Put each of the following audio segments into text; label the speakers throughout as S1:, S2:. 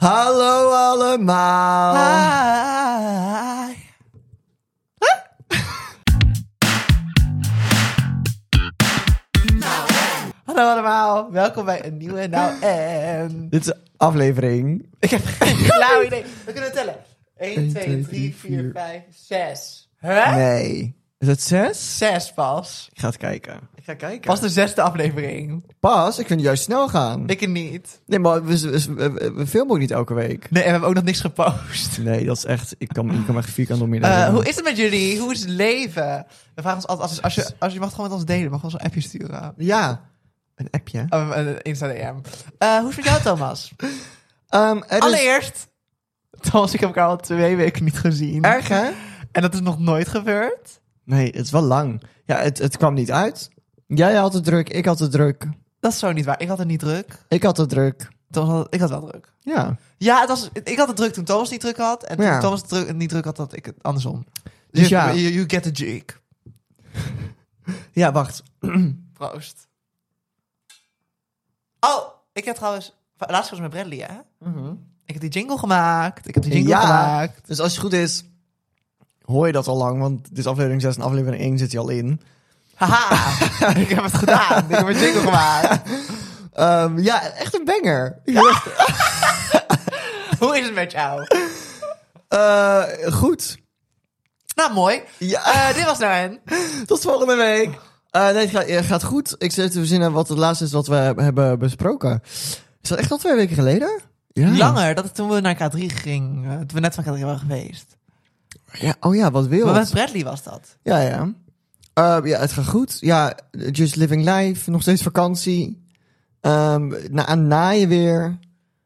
S1: Hallo allemaal.
S2: Hi. Hallo allemaal, welkom bij een nieuwe Nou En.
S1: Dit is aflevering.
S2: Ik heb geen flauw idee. We kunnen tellen. 1, 2, 3, 4,
S1: vier.
S2: 5, 6. Hè?
S1: Nee. Is het zes?
S2: 6 pas.
S1: Ik ga het kijken. Ik ga kijken.
S2: Pas
S1: Pas,
S2: de zesde aflevering.
S1: pas? Ik vind het juist snel gaan.
S2: Ik niet.
S1: Nee, maar we, we, we- we filmen ook niet elke week.
S2: Nee, en we hebben ook nog niks gepost.
S1: Nee, dat is echt... Ik kan, ik kan me echt vierkant domineren.
S2: Eh, hoe is het met jullie? Hoe is het leven? We vragen ons altijd, als, als, je, als je mag het gewoon met ons delen, je mag ons een appje sturen.
S1: Ja. Een appje.
S2: Oh, een Insta DM. Eh, hoe is het met jou, Thomas?
S1: Ehm, er is-
S2: Allereerst. Thomas, ik heb elkaar al twee weken niet gezien.
S1: Erg, hè?
S2: En dat is nog nooit gebeurd.
S1: Nee, het is wel lang. Ja, het, het kwam niet uit. Jij had het druk, ik had het druk.
S2: Dat is zo niet waar. Ik had het niet druk.
S1: Ik had het druk.
S2: Thomas had, ik had wel druk.
S1: Ja.
S2: Ja, het was, ik had het druk toen Thomas niet druk had. En toen
S1: Ja.
S2: Thomas het druk, niet druk had, had ik het andersom.
S1: Dus
S2: you,
S1: ja.
S2: you, you get the jig.
S1: Ja, wacht.
S2: Proost. Oh, ik heb trouwens... Laatst was het met Bradley, hè? Ik heb die jingle gemaakt. Ik heb die jingle
S1: Ja.
S2: gemaakt.
S1: Dus als het goed is, hoor je dat al lang, want dit is aflevering 6 en aflevering 1 zit hij al in.
S2: Haha. ik heb het gedaan. Ik heb een jingle gemaakt.
S1: Ehm, ja, echt een banger.
S2: Hoe is het met jou?
S1: Eh, goed.
S2: Nou, mooi.
S1: Ja,
S2: Eh, dit was naar hen.
S1: tot volgende week. Eh, nee, het gaat, het gaat goed. Ik zit te verzinnen wat het laatste is wat we hebben besproken. Is dat echt al twee weken geleden? Ja.
S2: Langer, dat het toen we naar K3 gingen. eh, Toen we net van K3 waren geweest.
S1: Ja, oh ja, wat wil.
S2: Maar met Bradley was dat.
S1: Ja, ja. Eh, ja, het gaat goed. Ja, just living life. Nog steeds vakantie. Ehm na, aan naaien weer.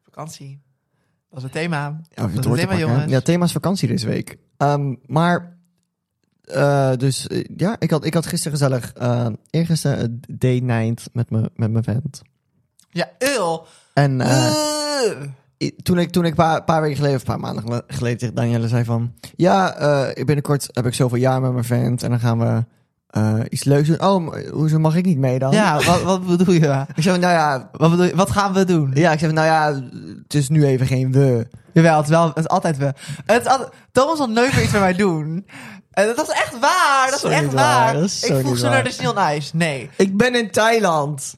S2: Vakantie. Dat was het thema.
S1: Ja,
S2: dat
S1: het hoort
S2: was het
S1: te
S2: thema,
S1: pakken, hè?
S2: jongens.
S1: Ja, thema's vakantie deze week. Ehm, maar, eh, dus eh, ja, ik had, ik had gisteren gezellig, eh eergisteren een date night met mijn met mijn vent.
S2: Ja, eul.
S1: En eh,
S2: Eh,
S1: i- toen ik, toen ik een paar, paar weken geleden, of een paar maanden gele- geleden tegen Danielle zei van... Ja, eh, binnenkort heb ik zoveel jaar met mijn vent en dan gaan we eh, iets leuks doen. Oh, maar hoezo mag ik niet mee dan?
S2: Ja, wat, wat bedoel je?
S1: Ik zei, nou ja,
S2: Wat, bedoel je? wat gaan we doen?
S1: ja, ik zei, nou ja, het is nu even geen we.
S2: Jawel, het is, wel, het is altijd we. Het is altijd, Thomas wil nooit meer iets met mij doen. En dat was echt waar. Dat
S1: Zo
S2: was echt
S1: niet
S2: waar.
S1: waar, dat is zo
S2: ik vroeg
S1: niet
S2: ze
S1: waar.
S2: naar de Sneeuw Nice. Nee.
S1: Ik ben in Thailand.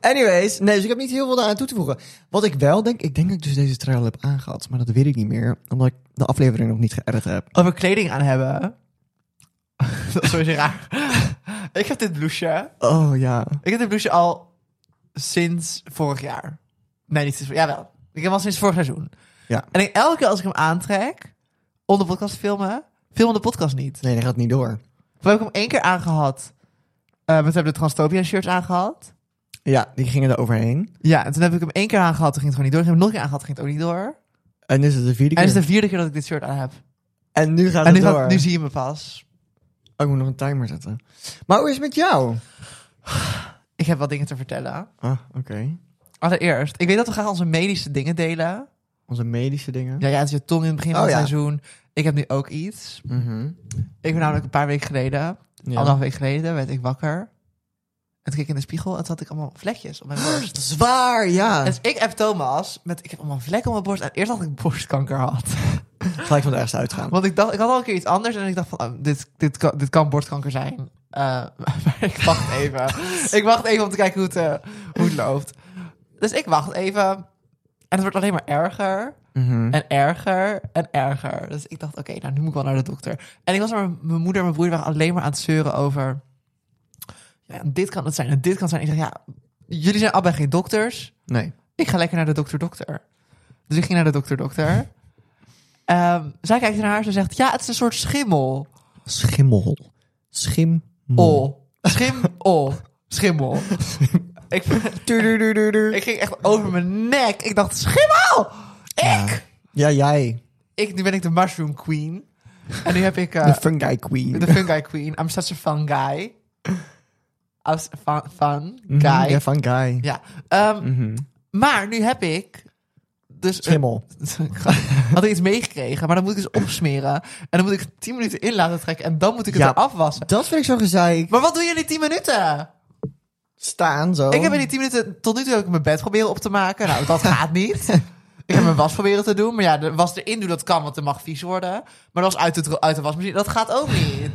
S1: Anyways, nee, dus ik heb niet heel veel daaraan toe te voegen. Wat ik wel denk, ik denk dat ik dus deze trui al heb aangehad, maar dat weet ik niet meer, omdat ik de aflevering nog niet geëdit heb.
S2: Over kleding aan hebben. dat is sowieso raar. ik heb dit blouseje.
S1: Oh ja.
S2: Ik heb dit blouseje al sinds vorig jaar. Nee, niet sinds vorig jaar. Jawel. Ik heb hem al sinds vorig seizoen.
S1: Ja.
S2: En ik, elke keer als ik hem aantrek, onder de podcast filmen, film de podcast niet.
S1: Nee, dat gaat niet door.
S2: We hebben hem één keer aangehad. Eh, want we hebben de Transtopia shirts aangehad.
S1: Ja, die gingen er overheen.
S2: Ja, en toen heb ik hem één keer aangehad, toen ging het gewoon niet door. Toen heb ik hem nog een keer aangehad, toen ging het ook niet door.
S1: En nu is het de vierde
S2: En
S1: keer.
S2: het is de vierde keer dat ik dit shirt aan heb.
S1: En nu gaat
S2: en nu,
S1: het
S2: gaat-
S1: door.
S2: nu zie je me pas.
S1: Oh, ik moet nog een timer zetten. Maar hoe is het met jou?
S2: Ik heb wat dingen te vertellen.
S1: Ah, oké.
S2: Allereerst, ik weet dat we graag onze medische dingen delen.
S1: Onze medische dingen.
S2: Ja, ja, het is je tong in het begin van
S1: Oh,
S2: het
S1: ja.
S2: seizoen. Ik heb nu ook iets.
S1: Mhm.
S2: Ik ben namelijk een paar weken geleden,
S1: Ja.
S2: anderhalf week geleden, werd ik wakker. En toen keek ik in de spiegel en toen had ik allemaal vlekjes op
S1: Ah.
S2: mijn borst.
S1: Zwaar, ja.
S2: Dus ik heb Thomas met, ik heb allemaal vlekken op mijn borst. En eerst dacht ik borstkanker had.
S1: Gelijk van het ergste uitgaan.
S2: Want ik dacht, ik had al een keer iets anders en ik dacht van, oh, dit, dit, kan, dit kan borstkanker zijn. Eh, maar ik wacht even. ik wacht even om te kijken hoe het, eh, hoe het loopt. Dus ik wacht even. En het wordt alleen maar erger
S1: Mhm.
S2: en erger en erger. Dus ik dacht, oké, nou nu moet ik wel naar de dokter. En ik was maar, mijn moeder en mijn broer waren alleen maar aan het zeuren over... Ja, dit kan het zijn en dit kan het zijn. Ik zeg, ja, jullie zijn allebei geen dokters
S1: Nee.
S2: ik ga lekker naar de dokter-dokter. Dus ik ging naar de dokter-dokter. Ehm, zij kijkt naar haar en ze zegt, ja, het is een soort schimmel.
S1: Schimmel. Schimmel.
S2: Ol. Schimmel. Schimmel. ik, ik ging echt over mijn nek. Ik dacht, schimmel! Ik!
S1: Ja, jij.
S2: ik nu ben ik de mushroom queen. En nu heb ik eh,
S1: De fungi queen.
S2: de fungi queen. I'm such a fun guy. I'm such a fun, fun guy.
S1: Mhm, Ja, Mhm. fungi.
S2: Ja. Ehm, Maar nu heb ik... Dus een-
S1: Schimmel.
S2: had ik iets meegekregen, maar dan moet ik dus opsmeren. En dan moet ik 10 minuten in laten trekken en dan moet ik het
S1: Ja.
S2: eraf wassen.
S1: Dat vind ik zo gezeik.
S2: Maar wat doe je in die 10 minuten?
S1: staan zo.
S2: Ik heb in die 10 minuten tot nu toe heb ik mijn bed proberen op te maken. Nou, dat gaat niet. Ik heb mijn was proberen te doen. Maar ja, de was erin doen, dat kan, want er mag vies worden. Maar dat was uit de, dro- uit de wasmachine. Dat gaat ook niet.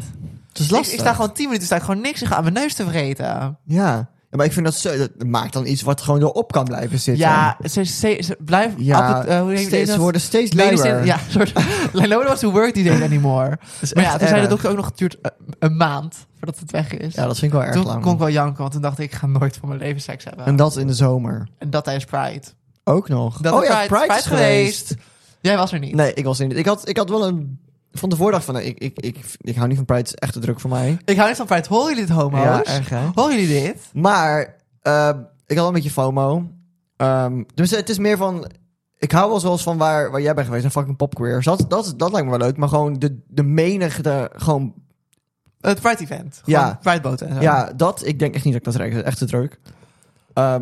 S1: Het is
S2: Ik,
S1: lastig.
S2: ik sta gewoon 10 minuten sta ik gewoon niks en ga aan mijn neus te vreten.
S1: ja. Ja, maar ik vind dat zo, dat maakt dan iets wat gewoon erop kan blijven zitten.
S2: Ja, ze, ze, ze blijven...
S1: Ja,
S2: appet- eh, hoe heet
S1: steeds,
S2: dat?
S1: ze worden steeds
S2: Ladies
S1: luwer.
S2: in- ja, een soort, like, nobody wants to work these days anymore.
S1: is
S2: Maar ja,
S1: echt
S2: toen zei de
S1: erg.
S2: dokter ook nog, het duurt eh, een maand voordat het weg is.
S1: Ja, dat vind ik wel erg
S2: toen
S1: lang.
S2: kon ik wel janken, want toen dacht ik, ik ga nooit van mijn leven seks hebben.
S1: En
S2: En,
S1: dat in de zomer.
S2: dat tijdens Pride.
S1: Ook nog.
S2: Dat
S1: oh
S2: is
S1: ja,
S2: Pride- Pride
S1: is geweest.
S2: Jij was er niet.
S1: Nee, ik was er niet. Ik had, ik had wel een... Van tevoren dacht van, nee, ik, ik, ik, ik hou niet van Pride. Het is echt te druk voor mij.
S2: Ik hou niet van Pride. Horen jullie dit, homo's?
S1: Ja, erg, hè?
S2: Horen jullie dit?
S1: Maar ehm, ik had wel een beetje FOMO. Ehm, dus het is meer van... Ik hou wel zoals van waar, waar jij bent geweest. Een fucking popqueer. Dat, dat, dat lijkt me wel leuk. Maar gewoon de, de menigte... Gewoon,
S2: Het Pride-event.
S1: Ja.
S2: Pride boten en zo.
S1: ja, dat... Ik denk echt niet dat ik dat trek. Het is echt te druk. Ehm, jij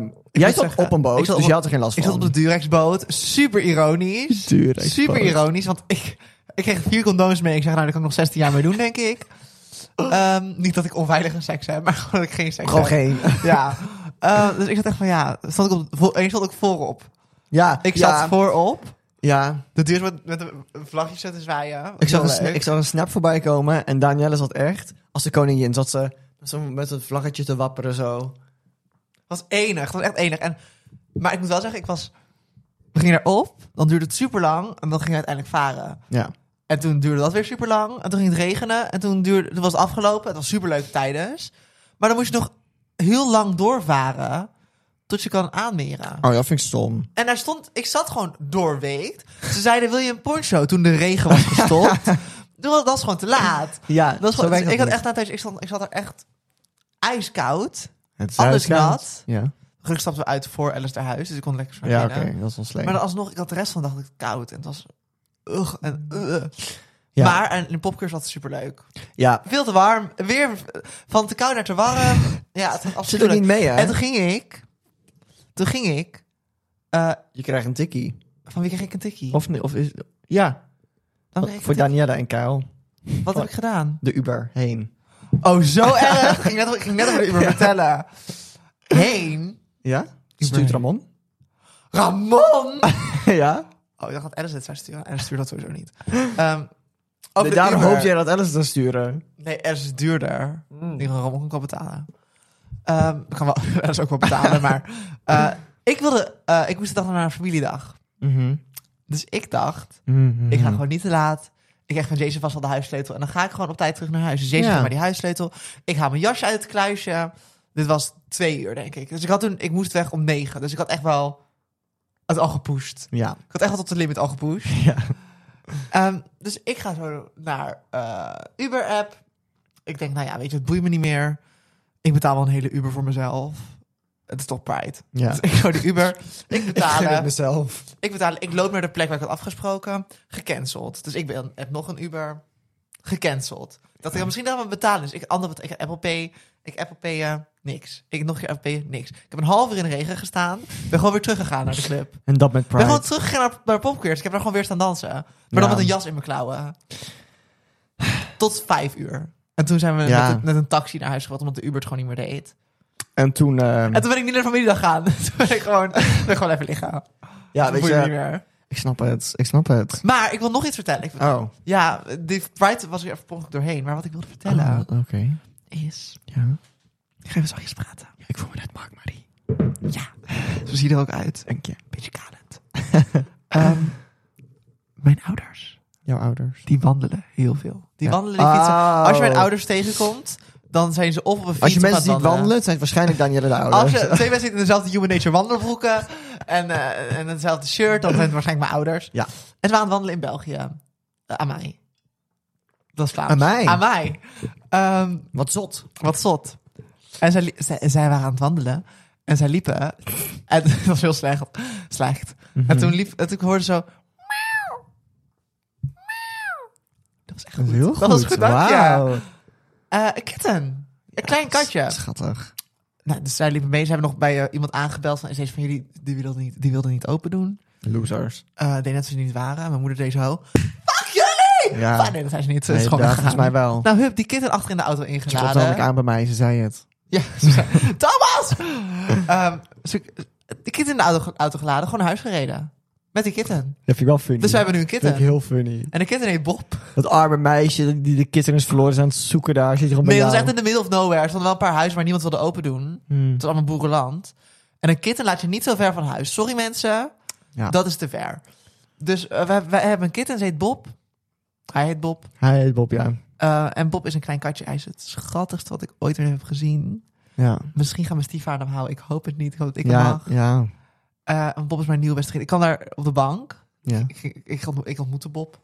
S1: zat
S2: moet zeggen,
S1: op een
S2: ik
S1: boot,
S2: zat
S1: dus
S2: op-
S1: je had er geen last
S2: Ik
S1: van.
S2: zat op de Durex-boot. Super ironisch.
S1: Durex-boot.
S2: Super ironisch, want ik, ik kreeg vier condooms mee. Ik zeg, nou, daar kan ik nog 16 jaar mee doen, denk ik. Ehm, niet dat ik onveilige seks heb, maar gewoon dat ik geen seks
S1: Gewoon
S2: heb.
S1: geen.
S2: Ja. Eh, dus ik zat echt van, ja, stond ik, op, voor, en ik stond ook voorop.
S1: Ja,
S2: Ik
S1: ja,
S2: zat voorop.
S1: Ja,
S2: De duur met, met een vlagje zitten zwaaien.
S1: Ik zag,
S2: Heel
S1: een, sna-
S2: leuk.
S1: ik zag een snap voorbij komen en Danielle zat echt als de koningin. Zat ze met zo'n- met een vlaggetje te wapperen zo.
S2: Het was enig. Het was echt enig. En, maar ik moet wel zeggen, ik was... We gingen erop, dan duurde het super lang en dan ging het uiteindelijk varen.
S1: Ja.
S2: En toen duurde dat weer super lang. En toen ging het regenen. En toen, duurde, toen was het afgelopen. Het was super leuk tijdens. Maar dan moest je nog heel lang doorvaren. Tot je kan aanmeren.
S1: Oh, dat vind ik stom.
S2: En daar stond, ik zat gewoon doorweekt. Ze zeiden: Wil je een poncho? Toen de regen was gestopt. Toen was- dat was gewoon te laat.
S1: Ja,
S2: Dat was gewoon, dus
S1: werkt
S2: ik had
S1: niet.
S2: echt na thuis, ik zat, ik zat er echt ijskoud.
S1: Het is
S2: anders
S1: huiskamer.
S2: nat.
S1: Ja,
S2: Gelukkig stapten we uit voor Alice naar huis. Dus ik kon lekker zo naar
S1: ja oké.
S2: binnen.
S1: Dat is ons slecht.
S2: Maar dan alsnog, ik had de rest van de dag koud. En het was... Ugh, en, ugh.
S1: Ja.
S2: Maar en in popkeurs was het superleuk.
S1: Ja,
S2: Veel te warm. Weer van te koud naar te warm. ja, het was
S1: zit er
S2: absoluut
S1: niet mee, hè?
S2: En toen ging ik... Toen ging ik... eh,
S1: Je krijgt een tikkie.
S2: van wie kreeg ik een tikkie?
S1: Of, nee, of is... Ja,
S2: Van wie kreeg ik
S1: voor Oh.
S2: een tikkie?
S1: Danielle en Kyle.
S2: Wat heb ik gedaan?
S1: De Uber heen.
S2: Oh, zo erg. ik ging net, ik ging net over de Uber vertellen. Heen.
S1: Ja?
S2: heen.
S1: Stuurt Ramon?
S2: Ramon!
S1: ja?
S2: Oh, ik dacht dat Alice het zou sturen. Alice stuurt dat sowieso niet. Ehm over
S1: Nee,
S2: de
S1: daarom
S2: Uber.
S1: hoop Mm. jij dat Alice te sturen.
S2: Nee, Alice is duurder. Die Ramon kan ik wel betalen. Ehm ik kan wel Alice ook wel betalen, maar... eh, ik wilde... eh, ik moest de dag naar een familiedag. Dus ik dacht,
S1: Mhm.
S2: ik ga gewoon niet te laat. Ik krijg van Jason vast wel de huissleutel. En dan ga ik gewoon op tijd terug naar huis. Dus Jason
S1: Ja.
S2: geeft mij die huissleutel. Ik haal mijn jasje uit het kluisje. Dit was twee uur, denk ik. Dus ik, had toen, ik moest weg om negen. Dus ik had echt wel het al gepusht.
S1: Ja.
S2: Ik had echt wel tot de limit al gepusht.
S1: Ja.
S2: Ehm, dus ik ga zo naar eh Uber-app. Ik denk, nou ja, weet je, het boeit me niet meer. Ik betaal wel een hele Uber voor mezelf. Het is toch Pride.
S1: Ja.
S2: Dus ik ga de Uber, ik
S1: Ik gun
S2: betalen.
S1: het mezelf.
S2: Ik betaal, ik loop naar de plek waar ik had afgesproken. Gecanceld. Dus ik ben, heb nog een Uber. Gecanceld. Dat ik dan misschien daarvan betalen. Dus ik ander, ik heb Apple Pay. Ik Apple Pay eh, niks. Ik nog geen Apple Pay niks. Ik heb een half uur in de regen gestaan. Ben gewoon weer teruggegaan naar de club.
S1: En dat met Pride.
S2: Ben gewoon teruggegaan naar, naar Popqueers. Ik heb daar gewoon weer staan dansen. Maar dan
S1: Ja.
S2: met een jas in mijn klauwen. Tot vijf uur. En toen zijn we
S1: Ja. Mm.
S2: met, een, met een taxi naar huis gegaan, omdat de Uber het gewoon niet meer deed.
S1: En toen... ehm,
S2: En toen ben ik niet naar de familiedag gaan. Toen ben ik gewoon, ben gewoon even liggen.
S1: ja, weet
S2: Boeit me
S1: je...
S2: niet meer.
S1: Ik snap het. Ik snap het.
S2: Maar ik wil nog iets vertellen. Ik wil-
S1: Oh.
S2: Ja, die Pride was er even per ongeluk doorheen. Maar wat ik wilde vertellen
S1: Ah, Oké.
S2: is...
S1: Ja.
S2: Oh. Ik ga even zachtjes praten.
S1: Ik voel me net Mark Marie.
S2: Ja, zo zie je er ook uit.
S1: Dank je.
S2: Beetje kalend. Ehm, mijn ouders,
S1: Jouw ouders.
S2: die wandelen heel veel. Die
S1: Ja.
S2: wandelen, die fietsen.
S1: Oh.
S2: Als je mijn ouders tegenkomt, dan zijn ze of op een fiets
S1: Als je
S2: of aan
S1: mensen
S2: het
S1: ziet wandelen, zijn het waarschijnlijk Danielle de
S2: Als
S1: ouders.
S2: je twee mensen in dezelfde Human Nature wandelbroeken en, eh, en hetzelfde shirt, dan zijn het waarschijnlijk mijn ouders.
S1: Ja.
S2: En we aan het wandelen in België. Eh, aan mij. Dat is Vlaams.
S1: Aan mij?
S2: Aan mij. Ehm,
S1: Wat zot.
S2: Wat zot. En zij, li- zij, zij waren aan het wandelen. En zij liepen. En het was heel slecht. slecht.
S1: Mhm.
S2: En toen liep... En toen hoorde ze zo... "Miauw. Miauw." Dat was echt goed.
S1: Heel goed.
S2: Dat was goed, dank je.
S1: Wauw.
S2: Eh, een kitten. Een klein katje.
S1: Schattig.
S2: Nou, dus zij liepen mee. Ze hebben nog bij eh, iemand aangebeld. Van, is deze van jullie... Die wilde niet, die wilde niet open doen.
S1: Losers.
S2: Eh deed net dat ze niet waren. Mijn moeder deed zo... Fuck jullie!
S1: Ja.
S2: Ah, nee, dat zijn ze niet. Ze
S1: Nee,
S2: is gewoon
S1: daar,
S2: weggegaan.
S1: volgens mij wel.
S2: Nou, hup, die kitten achter in de auto
S1: Ze klopte namelijk
S2: ingeladen.
S1: aan bij mij, ze zei het.
S2: Ja, ze zei, Thomas! Ehm, ze- de kitten in de auto, auto geladen, gewoon naar huis gereden. Met die kitten.
S1: Dat vind ik wel funny.
S2: Dus we hebben nu een
S1: Dat
S2: kitten.
S1: vind ik heel funny.
S2: En de kitten heet Bob.
S1: Dat arme meisje die de kitten is verloren is aan het zoeken daar. Zit gewoon bij
S2: Nee, dat
S1: jou.
S2: was echt in the middle of nowhere. Er stonden wel een paar huizen waar niemand wilde open doen.
S1: Hmm.
S2: Het was allemaal boerenland. En een kitten laat je niet zo ver van huis. Sorry mensen,
S1: Ja.
S2: dat is te ver. Dus eh, wij, wij hebben een kitten, ze heet Bob. Hij heet Bob.
S1: Hij heet Bob, ja.
S2: Eh, en Bob is een klein katje. Hij is het schattigste wat ik ooit weer heb gezien.
S1: Ja,
S2: Misschien gaan mijn stiefvader hem houden. Ik hoop het niet. Ik hoop dat ik hem
S1: ja,
S2: mag.
S1: ja.
S2: Eh, want Bob is mijn nieuwe beste vriend. Ik kwam daar op de bank.
S1: ja.
S2: Ik, ging- ik, ont- ik ontmoette Bob.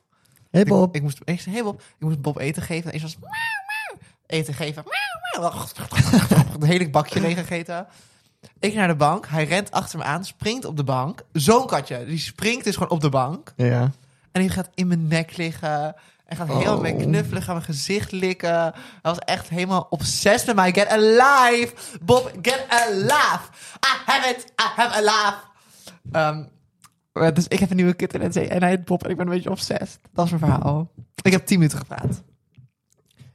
S1: Hey Bob.
S2: Ik, ik moest, ik zei, hey Bob. Ik moest Bob eten geven. En eerst was het, "Miauw, miauw." eten geven. "Miauw, miauw." Een hele bakje leeg gegeten. Ik naar de bank. Hij rent achter me aan. Springt op de bank. Zo'n katje. Die springt dus gewoon op de bank.
S1: Ja.
S2: En die gaat in mijn nek liggen. En gaat heel
S1: Oh.
S2: mee knuffelen. Gaat mijn gezicht likken. Hij was echt helemaal obsessed met mij. Get alive! Bob, get alive! I have it! I have alive! Ehm, maar dus ik heb een nieuwe kitten en, ze- en hij heet Bob. En ik ben een beetje obsessed. Dat is mijn verhaal. Ik heb tien minuten gepraat.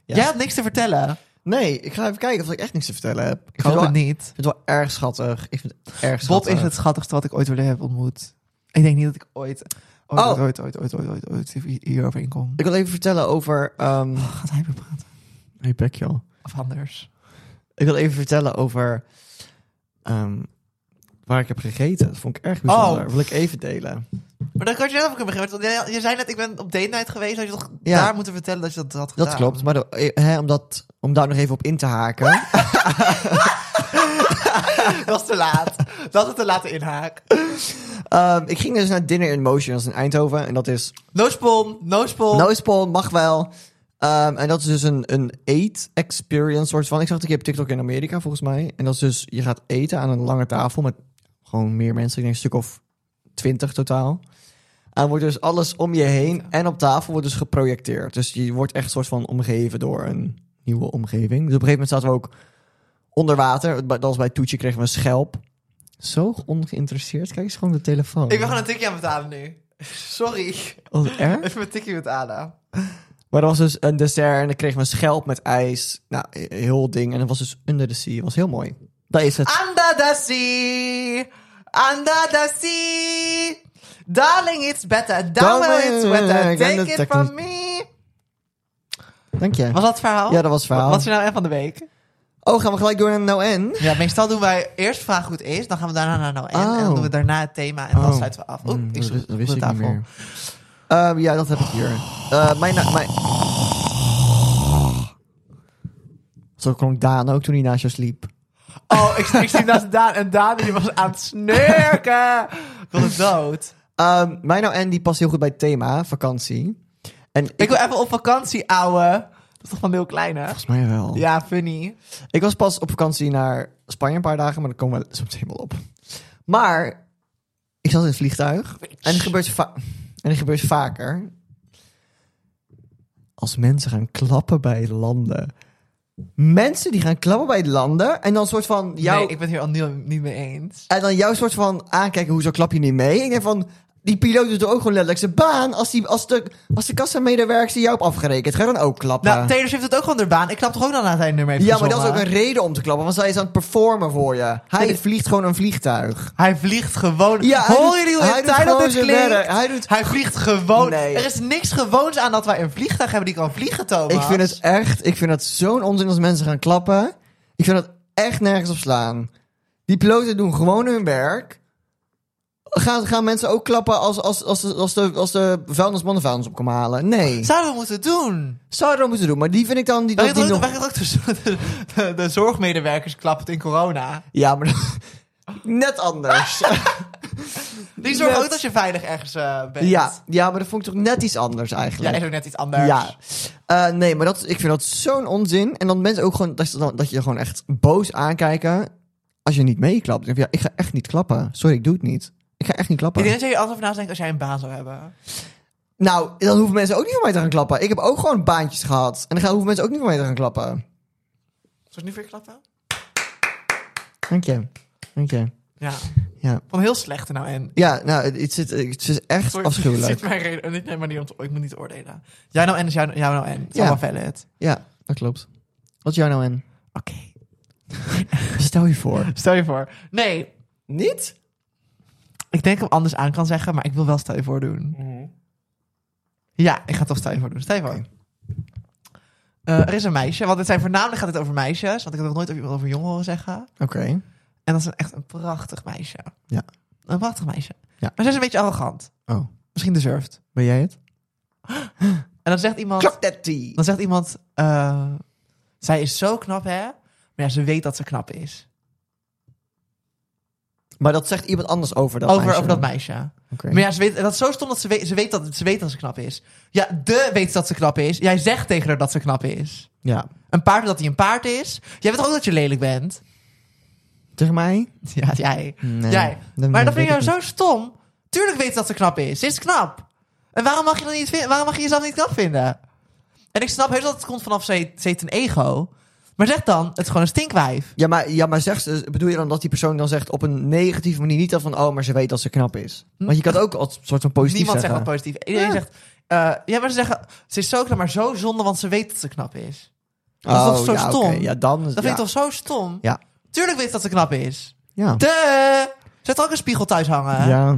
S1: Ja.
S2: Jij had niks te vertellen.
S1: Nee, ik ga even kijken of ik echt niks te vertellen heb.
S2: Ik
S1: vind
S2: hoop
S1: wel-
S2: het niet.
S1: Ik vind het wel erg schattig. Ik vind het erg
S2: Bob
S1: schattig.
S2: is het schattigste wat ik ooit willen heb ontmoet. Ik denk niet dat ik ooit... Ooit,
S1: Oh.
S2: ooit, ooit, ooit, ooit, ooit, ooit hierover inkom.
S1: Ik wil even vertellen over... ehm
S2: Gaat hij weer praten?
S1: Hey, pek, joh.
S2: Of anders?
S1: Ik wil even vertellen over... ehm, waar ik heb gegeten. Dat vond ik erg
S2: Oh.
S1: bijzonder. Wil ik even delen.
S2: Maar dan kan je zelf ook kunnen beginnen. Want eh, je zei net, ik ben op date night geweest. Had je toch
S1: Ja.
S2: daar moeten vertellen dat je dat had gedaan?
S1: Dat klopt. Maar de- eh, hè, om, dat, om daar nog even op in te haken.
S2: Dat was te laat. Dat is te laat de inhaak.
S1: Ehm, ik ging dus naar Dinner in Motion. Dat is in Eindhoven. En dat is
S2: No spon, no spon.
S1: Noospool mag wel. Ehm, en dat is dus een, een eet-experience soort van. Ik zag het een keer op TikTok in Amerika, volgens mij. En dat is dus, je gaat eten aan een lange tafel met gewoon meer mensen. Ik denk een stuk of twintig totaal. En wordt dus alles om je heen en op tafel wordt dus geprojecteerd. Dus je wordt echt soort van omgeven door een nieuwe omgeving. Dus op een gegeven moment zaten we ook onder water. Dat was bij Toetje, kregen we een schelp. Zo ongeïnteresseerd. Kijk eens gewoon de telefoon. Oh,
S2: Ik ben gewoon een tikje aan het betalen nu. Sorry.
S1: Wat erg.
S2: Even mijn tikje betalen.
S1: Maar er was dus een dessert en dan kregen we een schelp met ijs. Nou, he- heel ding. En dat was dus Under the Sea. was heel mooi. Dat is het.
S2: Under the sea. Under the sea. Darling, it's better. Darling,
S1: Darling,
S2: it's better.
S1: ik ben
S2: Take
S1: de
S2: it from me.
S1: Dank je.
S2: Was dat het verhaal?
S1: Ja, dat was het verhaal.
S2: Wat is er nou echt van de week?
S1: Oh, gaan we gelijk door naar No N?
S2: Ja, meestal doen wij eerst vraag hoe het is. Dan gaan we daarna naar nou en.
S1: Oh.
S2: En dan doen we daarna het thema. En dan
S1: Oh.
S2: sluiten we af. Oeh,
S1: Mm,
S2: ik sloeg
S1: dat
S2: op de
S1: wist ik niet
S2: tafel.
S1: meer. Ehm, ja, dat heb ik hier. Eh, mijn, na- mijn... Zo klonk Daan ook toen hij naast jou sliep.
S2: Oh, ik, ik zie naast Daan. En Daan die was aan het snurken. Ik wil het dood.
S1: Ehm, mijn No N die past heel goed bij het thema, vakantie. En ik...
S2: Ik wil even op vakantie, ouwe. Dat is toch van heel klein, hè?
S1: Volgens mij wel.
S2: Ja, funny.
S1: Ik was pas op vakantie naar Spanje een paar dagen, maar daar komen we soms helemaal op. Maar ik zat in het vliegtuig en het gebeurt, va- en het gebeurt vaker. Als mensen gaan klappen bij landen. Mensen die gaan klappen bij landen en dan soort van jou,
S2: Nee, ik ben het hier al niet, niet mee eens.
S1: en dan jouw soort van aankijken, hoezo klap je niet mee? Ik denk van, die piloot doet er ook gewoon letterlijk zijn baan. Als, die, als de, als de kassamedewerkster jou op afgerekend, ga dan ook klappen.
S2: Nou, Taylor Swift doet ook gewoon haar baan. Ik klap toch ook dan aan het einde ermee.
S1: Ja, maar dat is ook een reden om te klappen, want zij is aan het performen voor je. Hij
S2: Nee,
S1: vliegt gewoon een vliegtuig.
S2: Hij vliegt gewoon.
S1: Ja, hij
S2: Hoor
S1: doet-
S2: jullie
S1: hij
S2: hoe
S1: doet
S2: tijd dat
S1: gewoon
S2: dit
S1: zijn
S2: klinkt?
S1: werk. Hij doet-
S2: Hij vliegt gewoon.
S1: Nee.
S2: Er is niks gewoons aan dat wij een vliegtuig hebben die kan vliegen, Thomas.
S1: Ik vind het echt, ik vind dat zo'n onzin als mensen gaan klappen. Ik vind dat echt nergens op slaan. Die piloten doen gewoon hun werk. Gaan, gaan mensen ook klappen als, als, als, de- als, de, als de vuilnisman de vuilnis op kan halen? Nee.
S2: Zouden we moeten doen?
S1: Zouden we dat moeten doen, maar die vind ik dan... Die,
S2: Wij
S1: dat die
S2: hadden ook,
S1: nog...
S2: wij hadden ook de, de, de, de zorgmedewerkers klappen in corona.
S1: Ja, maar net anders.
S2: Oh, Die zorgen
S1: Net.
S2: ook dat je veilig ergens eh, bent.
S1: ja, ja, maar dat vond ik toch net iets anders
S2: Ja,
S1: eigenlijk.
S2: is ook net iets anders.
S1: Ja. Eh, nee, maar dat, ik vind dat zo'n onzin. En dan mensen ook gewoon, dat, je dan- dat je gewoon echt boos aankijken als je niet meeklapt. Dan denk je, Ja, ik ga echt niet klappen. Sorry, ik doe het niet. Ik ga echt niet
S2: Ik
S1: klappen.
S2: denk dat je er altijd over na zou denken als jij een baan zou hebben.
S1: Nou, dan hoeven mensen ook niet van mij te gaan klappen. Ik heb ook gewoon baantjes gehad. En dan gaan, hoeven mensen ook niet van mij te gaan klappen.
S2: Zal ik nu weer klappen?
S1: Dank je. Dank je.
S2: Ja.
S1: Ja.
S2: Van heel slecht nou en...
S1: Ja, nou, het, het, zit- het is echt
S2: Sorry,
S1: afschuwelijk.
S2: Dit is mijn reden. Dit neemt maar niet om te- Ik moet niet oordelen. Jij nou en is jouw jou nou en. Het is
S1: Ja.
S2: allemaal valid.
S1: Ja, dat klopt. Wat is jou nou in?
S2: Oké.
S1: Stel je voor.
S2: Stel je voor. Nee,
S1: Niet?
S2: ik denk dat ik hem anders aan kan zeggen, maar ik wil wel stel je voor doen. Ja, ik ga toch stel je voor doen. Stel je voor.
S1: Oké.
S2: Eh, er is een meisje, want het zijn voornamelijk gaat het over meisjes, want ik heb nog nooit over iemand over jongen horen zeggen.
S1: Oké.
S2: En dat is een- echt een prachtig meisje.
S1: Ja.
S2: Een prachtig meisje.
S1: Ja.
S2: Maar ze is een beetje arrogant.
S1: Oh,
S2: Misschien deserved.
S1: ben jij het?
S2: En dan zegt iemand...
S1: Daddy.
S2: Dan zegt iemand, eh, zij is zo knap, hè? Maar ja, ze weet dat ze knap is.
S1: Maar dat zegt iemand anders over dat
S2: over,
S1: meisje.
S2: over dat meisje.
S1: Oké.
S2: Maar ja, ze weet, dat is zo stom dat ze weet, ze weet dat ze weet dat ze knap is. Ja, de weet dat ze knap is. Jij zegt tegen haar dat ze knap is.
S1: Ja.
S2: Een paard dat hij een paard is. Jij weet toch ook dat je lelijk bent?
S1: Tegen mij?
S2: Ja, jij.
S1: Nee.
S2: jij. Maar dat
S1: weet
S2: vind je
S1: ik niet.
S2: zo stom. Tuurlijk weet ze dat ze knap is. Ze is knap. En waarom mag je, dan niet vin- waarom mag je jezelf niet knap vinden? En ik snap heus dat het komt vanaf ze, ze heeft een ego. Maar zeg dan, het is gewoon een stinkwijf.
S1: Ja, maar, ja, maar zegt, ze- bedoel je dan dat die persoon dan zegt op een negatieve manier niet dat van, oh, maar ze weet dat ze knap is? Want je kan het ook als soort van positief
S2: Hm. Niemand
S1: zeggen.
S2: zegt dat positief. Iedereen
S1: Ja.
S2: zegt... eh, ja, maar ze zeggen, ze is zo knap, maar zo zonde, want ze weet dat ze knap is. Dat is
S1: oh,
S2: toch zo
S1: ja,
S2: stom?
S1: oké. Ja, dan...
S2: Dat vind ik toch zo stom?
S1: Ja.
S2: Tuurlijk weet ze dat ze knap is.
S1: Ja.
S2: De! Zet ook een spiegel thuis hangen.
S1: ja.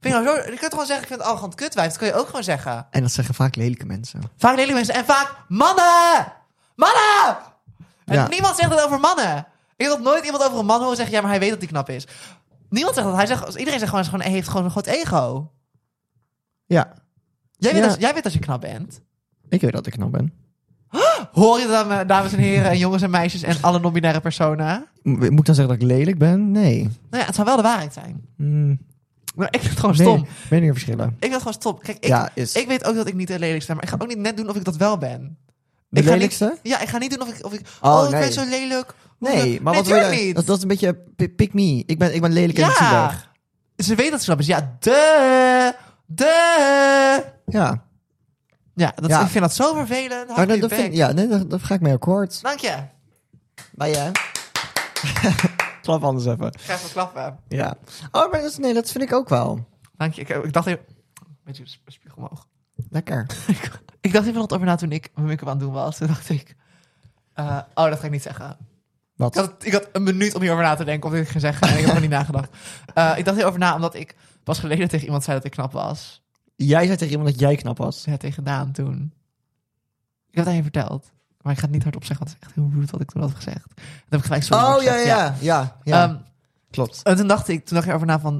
S2: Vind je, nou zo, je kunt gewoon zeggen, ik vind het arrogant kutwijf. Dat kun je ook gewoon zeggen.
S1: En dat zeggen vaak lelijke mensen.
S2: Vaak lelijke mensen en vaak mannen! Mannen! En
S1: Ja.
S2: niemand zegt het over mannen. Ik heb nog nooit iemand over een man horen zeggen, ja, maar hij weet dat hij knap is. Niemand zegt dat. Hij zegt, iedereen zegt gewoon, hij is gewoon- hij heeft gewoon een groot ego.
S1: Ja.
S2: Jij weet,
S1: Ja.
S2: dat, jij weet dat je knap bent.
S1: Ik weet dat ik knap ben.
S2: Hoor je dat, eh, dames en heren, en jongens en meisjes en alle non-binaire personen?
S1: M- Moet ik dan zeggen dat ik lelijk ben? Nee.
S2: Nou ja, het zou wel de waarheid zijn.
S1: Mm,
S2: Maar ik vind het gewoon Hmm. stom.
S1: men- Meningen verschillen.
S2: Ik vind het gewoon stom. Kijk, ik,
S1: ja, is
S2: ik weet ook dat ik niet de lelijkste ben, maar ik ga ook niet net doen of ik dat wel ben.
S1: de
S2: ik ga niet-
S1: lelijkste?
S2: Ja, ik ga niet doen of ik... Of ik
S1: Oh,
S2: oh, ik
S1: nee.
S2: ben zo lelijk.
S1: Nee, maar wat wil
S2: natuurlijk
S1: je?
S2: niet.
S1: Dat, dat is een beetje pi- pick me. Ik ben, ik ben lelijk en ik zie
S2: ja. Ze weet dat ze knap is. dus Ja, de... De...
S1: Ja.
S2: Ja, dat,
S1: Ja.
S2: ik vind dat zo vervelend. Hou
S1: Maar dat,
S2: je
S1: dat
S2: bek.
S1: vind, ja, nee, dat, dat ga ik mee akkoord.
S2: Dank je.
S1: Maar ja. Klap anders even.
S2: Ik ga even klappen.
S1: Ja. Oh, maar dat, is- nee, dat vind ik ook wel.
S2: Dank je. Ik, ik dacht even... Met je spiegel omhoog.
S1: Lekker.
S2: Ik dacht even wat over na toen ik mijn make-up aan het doen was. Toen dacht ik... eh, oh, dat ga ik niet zeggen. Ik
S1: Wat?
S2: had, ik had een minuut om hierover na te denken, of dit ik ging zeggen. En ik heb er niet nagedacht. Eh, ik dacht hierover na, omdat ik pas geleden tegen iemand zei dat ik knap was.
S1: Jij zei tegen iemand dat jij knap was.
S2: Ja, tegen Daan toen. Ik heb het aan je verteld. Maar ik ga het niet hardop zeggen, want het is echt heel rude wat ik toen had gezegd. Dat heb ik gelijk zo
S1: Oh, ja, ja, ja. Ja, ja. Oh, klopt.
S2: Ehm, en toen dacht ik, toen dacht ik erover na van...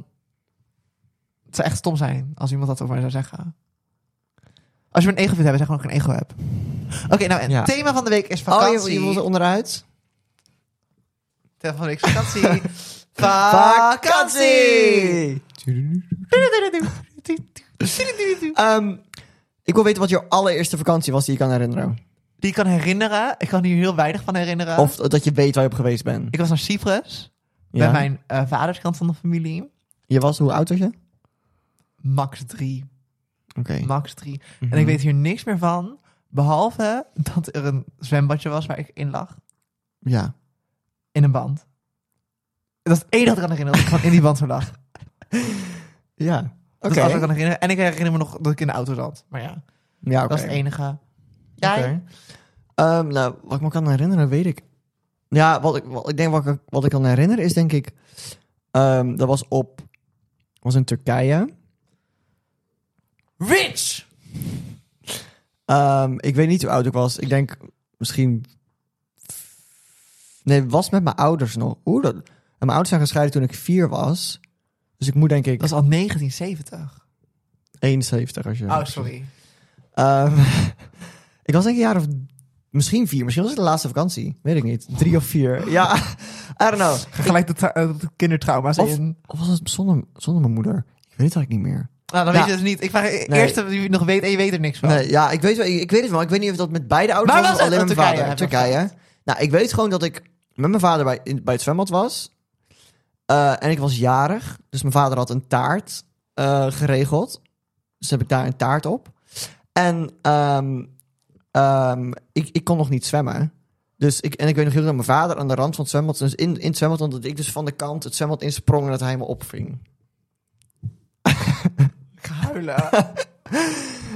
S2: Het zou echt stom zijn als iemand dat over mij zou zeggen. Als je een ego vindt hebben, zeg gewoon dat ik een ego heb. Oké, nou en
S1: Ja.
S2: thema van de week is
S1: Oh,
S2: vakantie.
S1: je, je wilt er onderuit?
S2: Thema van de week is vakantie. vakantie!
S1: Ehm, ik wil weten wat je allereerste vakantie was die je kan herinneren.
S2: Die ik kan herinneren. Ik kan hier heel weinig van herinneren.
S1: Of dat je weet waar je op geweest bent.
S2: ik was naar Cyprus.
S1: Ja.
S2: Bij mijn eh vaderskant van de familie.
S1: Je was, hoe oud was je? Oké.
S2: Max 3. Max 3. En ik
S1: Mhm.
S2: weet hier niks meer van. Behalve dat er een zwembadje was waar ik in lag.
S1: Ja.
S2: In een band. Dat is het enige dat ik kan herinneren. Dat ik gewoon in die band zo lag.
S1: Ja.
S2: Dat
S1: Oké.
S2: is alles wat ik kan herinneren. En ik herinner me nog dat ik in de auto zat. Maar ja,
S1: Ja, oké.
S2: dat is het enige.
S1: Oké.
S2: Jij?
S1: Ehm, nou, wat ik me kan herinneren, weet ik. Ja, wat ik, wat, ik denk wat ik, wat ik kan herinneren is denk ik... ehm, dat was op... was in Turkije.
S2: Rich!
S1: Ehm, ik weet niet hoe oud ik was. Ik denk misschien... Nee, het was met mijn ouders nog. Oeh, dat... en Mijn ouders zijn gescheiden toen ik vier was. Dus ik moet denk ik
S2: Dat is al 1970.
S1: 71 als je...
S2: Oh, sorry.
S1: Ehm, ik was denk ik een jaar of... Misschien vier. Misschien was het de laatste vakantie. Weet ik niet. Drie of vier. Ja, I don't
S2: Oh,
S1: know.
S2: Gelijk de, tra- eh, de kindertrauma's
S1: Of-
S2: in.
S1: Of was het zonder, zonder mijn moeder? Ik weet het eigenlijk niet meer.
S2: Nou, dan
S1: Ja.
S2: weet je dus niet. Ik vraag eerst dat je het nog weet en je weet er niks van.
S1: Nee, ja, ik weet, wel, ik, ik weet het wel. Ik weet niet of dat met beide ouders
S2: Waar
S1: was, of
S2: was het?
S1: alleen met
S2: Oh,
S1: mijn
S2: Turkije,
S1: vader.
S2: heb je al
S1: Turkije. Nou, ik weet gewoon dat ik met mijn vader bij, in- bij het zwembad was. Eh, en ik was jarig. Dus mijn vader had een taart eh, geregeld. Dus heb ik daar een taart op. En ehm, ehm, ik, ik kon nog niet zwemmen. Dus ik, en ik weet nog heel goed dat mijn vader aan de rand van het zwembad... Dus in, in het zwembad, want dat ik dus van de kant het zwembad insprong... en dat hij me opving.
S2: Ik ga huilen.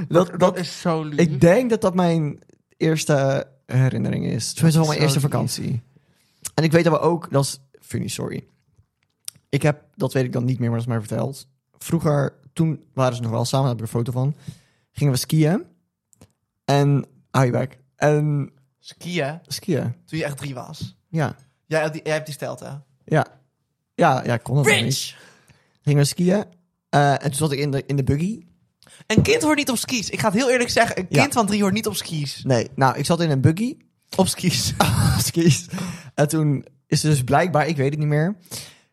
S1: Dat, dat,
S2: is zo lief.
S1: Ik denk dat dat mijn eerste herinnering is. Tenminste, wel mijn
S2: Zo
S1: eerste
S2: lief.
S1: vakantie. En ik weet dat we ook, dat is funny, sorry. Ik heb, dat weet ik dan niet meer, maar dat is mij verteld. Vroeger, toen waren ze nog wel samen, daar heb ik een foto van. Gingen we skiën. En, hou je bek. En
S2: Skiën,
S1: skiën,
S2: toen je echt drie was.
S1: ja.
S2: Jij, hebt die- jij hebt die stelte.
S1: Ja, ja, ja ik kon het nog niet.
S2: Rich!
S1: Gingen we skiën. eh, en toen zat ik in de, in de buggy.
S2: Een kind hoort niet op skis. Ik ga het heel eerlijk zeggen. Een
S1: Ja.
S2: kind van drie hoort niet op skis.
S1: Nee, nou, ik zat in een buggy.
S2: Op skis.
S1: Skis. En toen is er dus blijkbaar, ik weet het niet meer,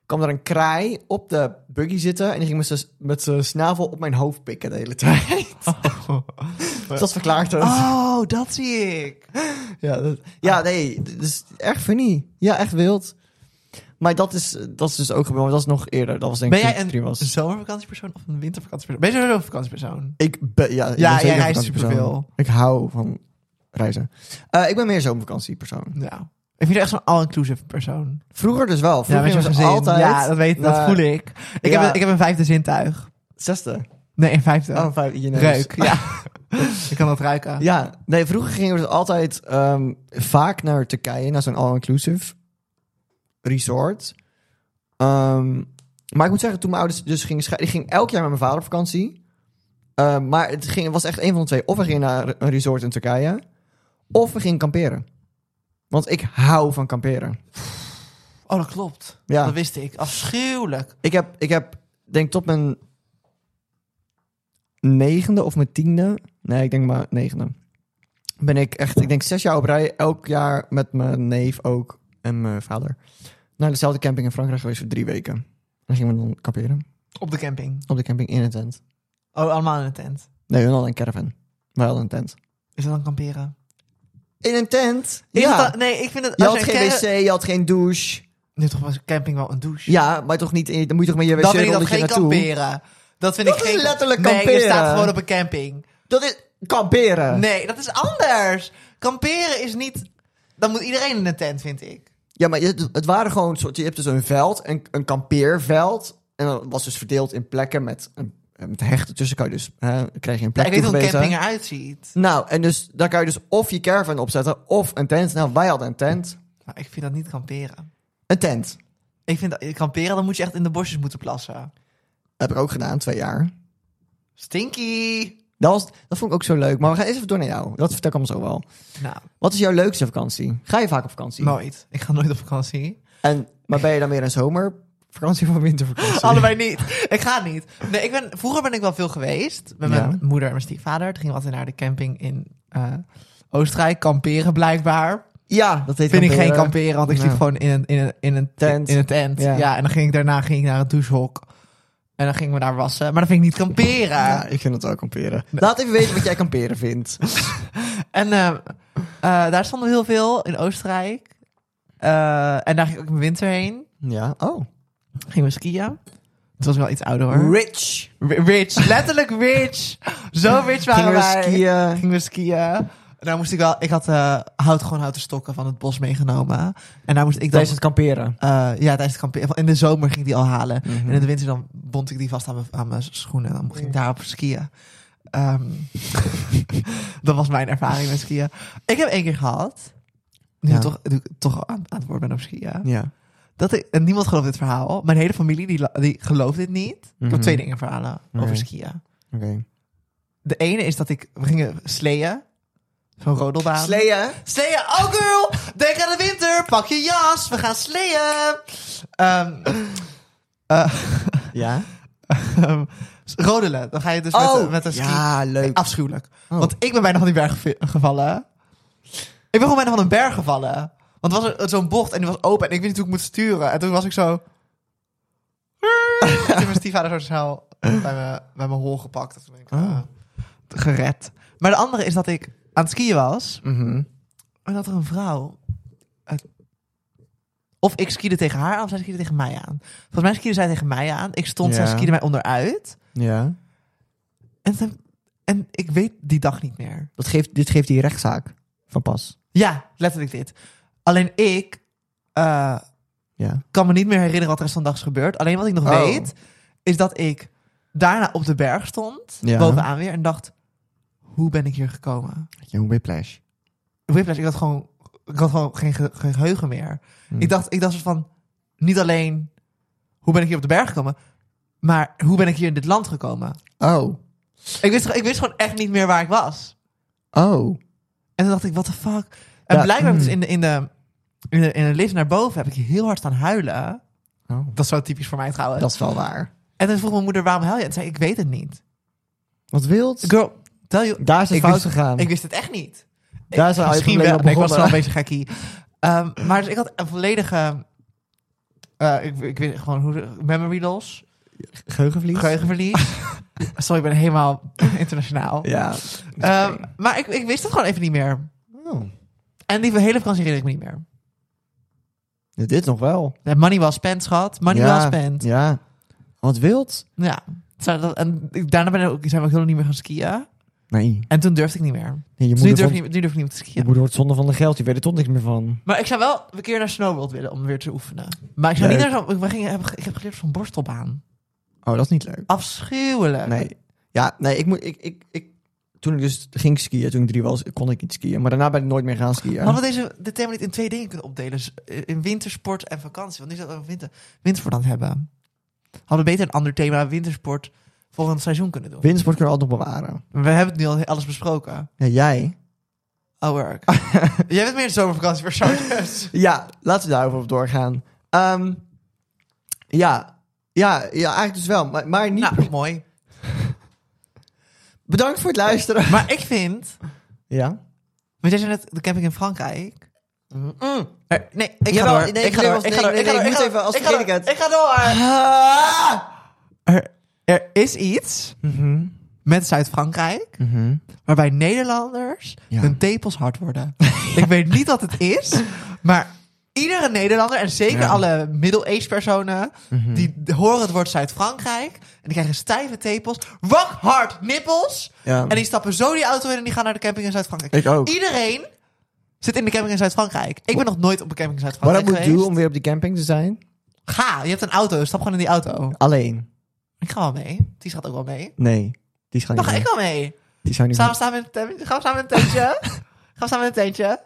S1: kwam er een kraai op de buggy zitten en die ging met z'n- met zijn snavel op mijn hoofd pikken de hele tijd. dat verklaart het.
S2: Oh, dat zie ik.
S1: Ja, dat- ja, nee, dat is echt funny. Ja, echt wild. Maar dat is, dat is dus ook gebeurd, maar dat is nog eerder. Dat was denk ik
S2: Ben jij
S1: toen ik
S2: een
S1: drie was.
S2: zomervakantiepersoon of een wintervakantiepersoon? Ben je sowieso een vakantiepersoon?
S1: Ik ben, ja, ik
S2: Ja,
S1: ben zeker
S2: jij
S1: een
S2: reist
S1: vakantiepersoon.
S2: superveel.
S1: Ik hou van reizen. Eh, ik ben meer zo'n vakantiepersoon.
S2: Ja. Ik vind je echt zo'n all-inclusive persoon.
S1: Vroeger dus wel.
S2: Ja,
S1: Vroeger
S2: met
S1: was
S2: zo'n
S1: ik
S2: gezin.
S1: altijd...
S2: Ja, dat, weet, dat
S1: maar-
S2: voel ik. Ik,
S1: Ja.
S2: heb, een- ik heb een vijfde zintuig.
S1: Zesde.
S2: Nee, een vijfde.
S1: Oh, vijf, je neus.
S2: Reuk, ja. ik kan dat ruiken.
S1: Ja, nee, vroeger gingen we dus altijd ehm, vaak naar Turkije, naar zo'n all-inclusive resort. Ehm, maar ik moet zeggen, toen mijn ouders dus gingen scheiden, ik ging elk jaar met mijn vader op vakantie. Ehm, maar het ging, was echt een van de twee. Of we gingen naar een resort in Turkije, of we gingen kamperen. Want ik hou van kamperen.
S2: Oh, dat klopt.
S1: Ja.
S2: Dat wist ik. Afschuwelijk.
S1: Ik heb, ik heb denk tot mijn negende of mijn tiende. Nee, ik denk maar negende. Ben ik echt, ik denk zes jaar op rij, elk jaar met mijn neef ook en mijn vader. Naar dezelfde camping in Frankrijk geweest voor drie weken. En dan gingen we dan kamperen.
S2: Op de camping.
S1: Op de camping in een tent.
S2: Oh, allemaal in een tent.
S1: Nee, we hadden een caravan. Wij hadden een tent.
S2: Is dat dan kamperen?
S1: In een tent?
S2: Is
S1: ja.
S2: dat dan- nee, ik vind het...
S1: je
S2: als
S1: had
S2: een
S1: geen
S2: camper-
S1: wc, je had geen douche.
S2: Nu heeft toch wel een camping wel een douche?
S1: Ja, maar toch niet, in, dan moet je toch met je
S2: dat vind ik dat
S1: wc-rolletje
S2: geen
S1: naartoe.
S2: kamperen. Dat vind
S1: Dat
S2: ik
S1: is
S2: geen...
S1: letterlijk
S2: Nee, je
S1: kamperen.
S2: staat gewoon op een camping.
S1: Dat is kamperen.
S2: Nee, dat is anders. Kamperen is niet... Dan moet iedereen in een tent, vind ik.
S1: Ja, maar je- het waren gewoon soort. Je hebt dus een veld, een, een kampeerveld. En dat was dus verdeeld in plekken met, een- met hechten tussen. Kan je dus, hè, krijg je een
S2: Ja,
S1: plek
S2: ik weet hoe een
S1: toegewezen.
S2: camping eruit ziet.
S1: Nou, en dus daar kan je dus of je caravan opzetten of een tent. Nou, wij hadden een tent.
S2: Maar ik vind dat niet kamperen.
S1: Een tent.
S2: Ik vind dat, kamperen, dan moet je echt in de bosjes moeten plassen.
S1: Heb ik ook gedaan, twee jaar.
S2: Stinky!
S1: Dat, was, dat vond ik ook zo leuk. Maar we gaan eerst even door naar jou. Dat vertel ik allemaal zo wel.
S2: Nou,
S1: Wat is jouw leukste vakantie? Ga je vaak op vakantie?
S2: nooit. Ik ga nooit op vakantie.
S1: En, maar ben je dan meer een zomervakantie of een wintervakantie?
S2: Allebei niet. Ik ga niet. Nee, ik ben, vroeger ben ik wel veel geweest. Met mijn
S1: Ja.
S2: moeder en mijn stiefvader. Toen gingen we altijd naar de camping in eh, Oostenrijk. Kamperen blijkbaar.
S1: Ja, dat heet
S2: Vind ik geen
S1: kamperen.
S2: kamperen, want ik
S1: Nou.
S2: sliep gewoon in een, in een, in een
S1: Tent.
S2: In een tent.
S1: Ja.
S2: Ja. en dan ging ik daarna ging ik naar het douchehok. En dan gingen we daar wassen. Maar dat vind ik niet kamperen.
S1: Ja, ik vind het wel kamperen. Laat even weten wat jij kamperen vindt.
S2: En eh, eh, daar stonden we heel veel in Oostenrijk. Eh, en daar ging ik ook in de winter heen.
S1: Ja, oh.
S2: Gingen we skiën. Het was wel iets ouder hoor.
S1: Rich.
S2: R- Rich, letterlijk rich. Zo rich waren
S1: Gingen we
S2: wij.
S1: skiën.
S2: Gingen we skiën. En daar moest ik wel... Ik had eh, hout, gewoon houten stokken van het bos meegenomen. En daar moest ik dan...
S1: Tijdens het kamperen.
S2: eh, ja, tijdens het kamperen. In de zomer ging ik die al halen.
S1: Mhm.
S2: En in de winter dan bond ik die vast aan mijn, aan mijn schoenen. En dan ging ik daarop skiën. Ehm, dat was mijn ervaring met skiën. Ik heb één keer gehad. Nu
S1: Ja.
S2: toch, nu ik toch aan, aan het woord ben op skiën.
S1: Ja.
S2: Dat ik, en niemand gelooft dit verhaal. Mijn hele familie die, la- die gelooft dit niet. Ik
S1: Mhm.
S2: heb twee dingen verhalen
S1: Oké.
S2: over skiën.
S1: Oké.
S2: De ene is dat ik, we gingen sleeën. Zo'n rodelbaan.
S1: Sleeën.
S2: Sleeën, oh girl! Denk aan de winter, pak je jas, we gaan sleeën! Ehm, eh,
S1: Ja.
S2: ehm, rodelen, dan ga je dus met, de- met een ski.
S1: Oh, ja,
S2: Nee,
S1: leuk.
S2: afschuwelijk.
S1: Oh.
S2: Want ik ben bijna van die berg geve- gevallen. Ik ben gewoon bijna van een berg gevallen. Want er was er- zo'n bocht en die was open en ik wist niet hoe ik moest sturen. En toen was ik zo... toen werd mijn stiefvader zo snel bij mijn, bij mijn hol gepakt. En Toen ben ik eh,
S1: Oh.
S2: gered. Maar de andere is dat ik aan het skiën was.
S1: Mhm.
S2: En dat er een vrouw. uit- Of ik skiede tegen haar aan, of zij skiede tegen mij aan. Volgens mij skiede zij tegen mij aan. Ik stond, zij
S1: Ja.
S2: skiede mij onderuit.
S1: Ja.
S2: En, ze- en ik weet die dag niet meer.
S1: Dat geeft, dit geeft die rechtszaak van pas.
S2: Ja, letterlijk dit. Alleen ik eh,
S1: Ja.
S2: kan me niet meer herinneren wat er rest van de dag is gebeurd. Alleen wat ik nog
S1: Oh.
S2: weet, is dat ik daarna op de berg stond.
S1: Ja.
S2: Bovenaan weer. En dacht, hoe ben ik hier gekomen?
S1: Je een whiplash.
S2: Whiplash, ik had gewoon ik had gewoon geen, ge- geen geheugen meer.
S1: Hmm.
S2: Ik dacht, ik dacht soort van, niet alleen hoe ben ik hier op de berg gekomen, maar hoe ben ik hier in dit land gekomen?
S1: Oh.
S2: Ik wist, ik wist gewoon echt niet meer waar ik was.
S1: Oh.
S2: En toen dacht ik, what the fuck? En
S1: Ja,
S2: blijkbaar heb ik dus
S1: mm.
S2: in de, in, de, in, de, in de lift naar boven heb ik heel hard staan huilen.
S1: oh.
S2: Dat is zo typisch voor mij trouwens.
S1: Dat is wel waar.
S2: En toen vroeg mijn moeder, waarom huil je? En toen zei ik, ik weet het niet.
S1: Wat wild.
S2: Girl, tell you,
S1: Daar is het
S2: Ik
S1: fout
S2: wist-
S1: gegaan.
S2: ik wist het echt niet.
S1: Daar zijn al je
S2: Misschien
S1: problemen
S2: wel. Nee, ik was wel een
S1: begonnen.
S2: beetje gekkie. Ehm, maar dus ik had een volledige... eh, ik, ik weet gewoon hoe... de- Memory loss.
S1: Geheugenverlies?
S2: Geheugenverlies. Sorry, ik ben helemaal internationaal.
S1: Ja.
S2: Ehm, maar ik, ik wist het gewoon even niet meer.
S1: Oh.
S2: En die hele vakantie herinner ik me niet meer.
S1: Dit nog wel.
S2: Ja, Money was spent, schat. Money
S1: ja.
S2: was spent.
S1: Ja. Wat wild.
S2: Ja. Zo, dat- En ik- daarna ben ik, ook- zijn we ook helemaal niet meer gaan skiën.
S1: Nee.
S2: En toen durfde ik niet meer.
S1: nee je,
S2: Dus
S1: moeder
S2: nu durf, ik
S1: vond-
S2: niet, nu durf ik niet meer
S1: je
S2: te skiën.
S1: moeder wordt zonde van de geld. Die weet er toch niks meer van.
S2: Maar ik zou wel een keer naar Snowworld willen om weer te oefenen. Maar ik zou niet naar zo'n... we gingen- heb- Ik heb geleerd van borstelbaan.
S1: Oh, dat is niet leuk.
S2: Afschuwelijk.
S1: Nee. Ja, nee, ik moet... Ik, ik, ik, toen ik dus ging skiën, toen ik drie was, kon ik niet skiën. Maar daarna ben ik nooit meer gaan skiën.
S2: Hadden we deze, dit thema niet in twee dingen kunnen opdelen? Z- In wintersport en vakantie. Want nu zouden we winter, wintersport aan het hebben. Hadden we beter een ander thema wintersport volgend seizoen kunnen doen.
S1: Wintersport kunnen we altijd nog bewaren.
S2: We hebben het nu al alles besproken.
S1: Ja, jij?
S2: Oh, work. Jij bent meer een zomervakantiepersoon. dus.
S1: Ja, laten we daarover op doorgaan. Ehm, ja. Ja, ja, eigenlijk dus wel. Maar, maar niet...
S2: Nou, mooi.
S1: Bedankt voor het luisteren.
S2: Maar ik vind...
S1: Ja?
S2: Want jij zei net de camping in Frankrijk. Er- Nee, ik ga
S1: Mm. Jawel,
S2: door.
S1: nee,
S2: Ik ga
S1: nee,
S2: door.
S1: nee,
S2: Ik ga door.
S1: nee,
S2: Ik ga
S1: nee, ik Ah!
S2: door. Ik
S1: moet
S2: ga
S1: even
S2: door.
S1: als
S2: Ik ga door.
S1: predikant.
S2: Ik ga door. Er- Er is iets Mhm. met Zuid-Frankrijk... waarbij Nederlanders
S1: Ja.
S2: hun tepels hard worden. ik weet niet wat het is, maar iedere Nederlander en zeker
S1: Ja.
S2: alle middle-aged personen die d- horen het woord Zuid-Frankrijk en die krijgen stijve tepels, wakhard nippels
S1: Ja.
S2: en die stappen zo die auto in en die gaan naar de camping in Zuid-Frankrijk.
S1: Ik ook.
S2: Iedereen zit in de camping in Zuid-Frankrijk. Ik ben nog nooit op een camping in
S1: What I
S2: Zuid-Frankrijk
S1: would
S2: geweest.
S1: do om weer op die camping te zijn?
S2: Ga, je hebt een auto, stap gewoon in die auto.
S1: Alleen.
S2: Ik ga wel mee. Die gaat ook wel mee.
S1: Nee. Die zou
S2: Dan
S1: niet
S2: ga ik
S1: mee.
S2: wel mee.
S1: Die zou niet
S2: Samen
S1: mee.
S2: staan we in een tentje. Gaan we samen in een tentje? Gaan we samen in een tentje?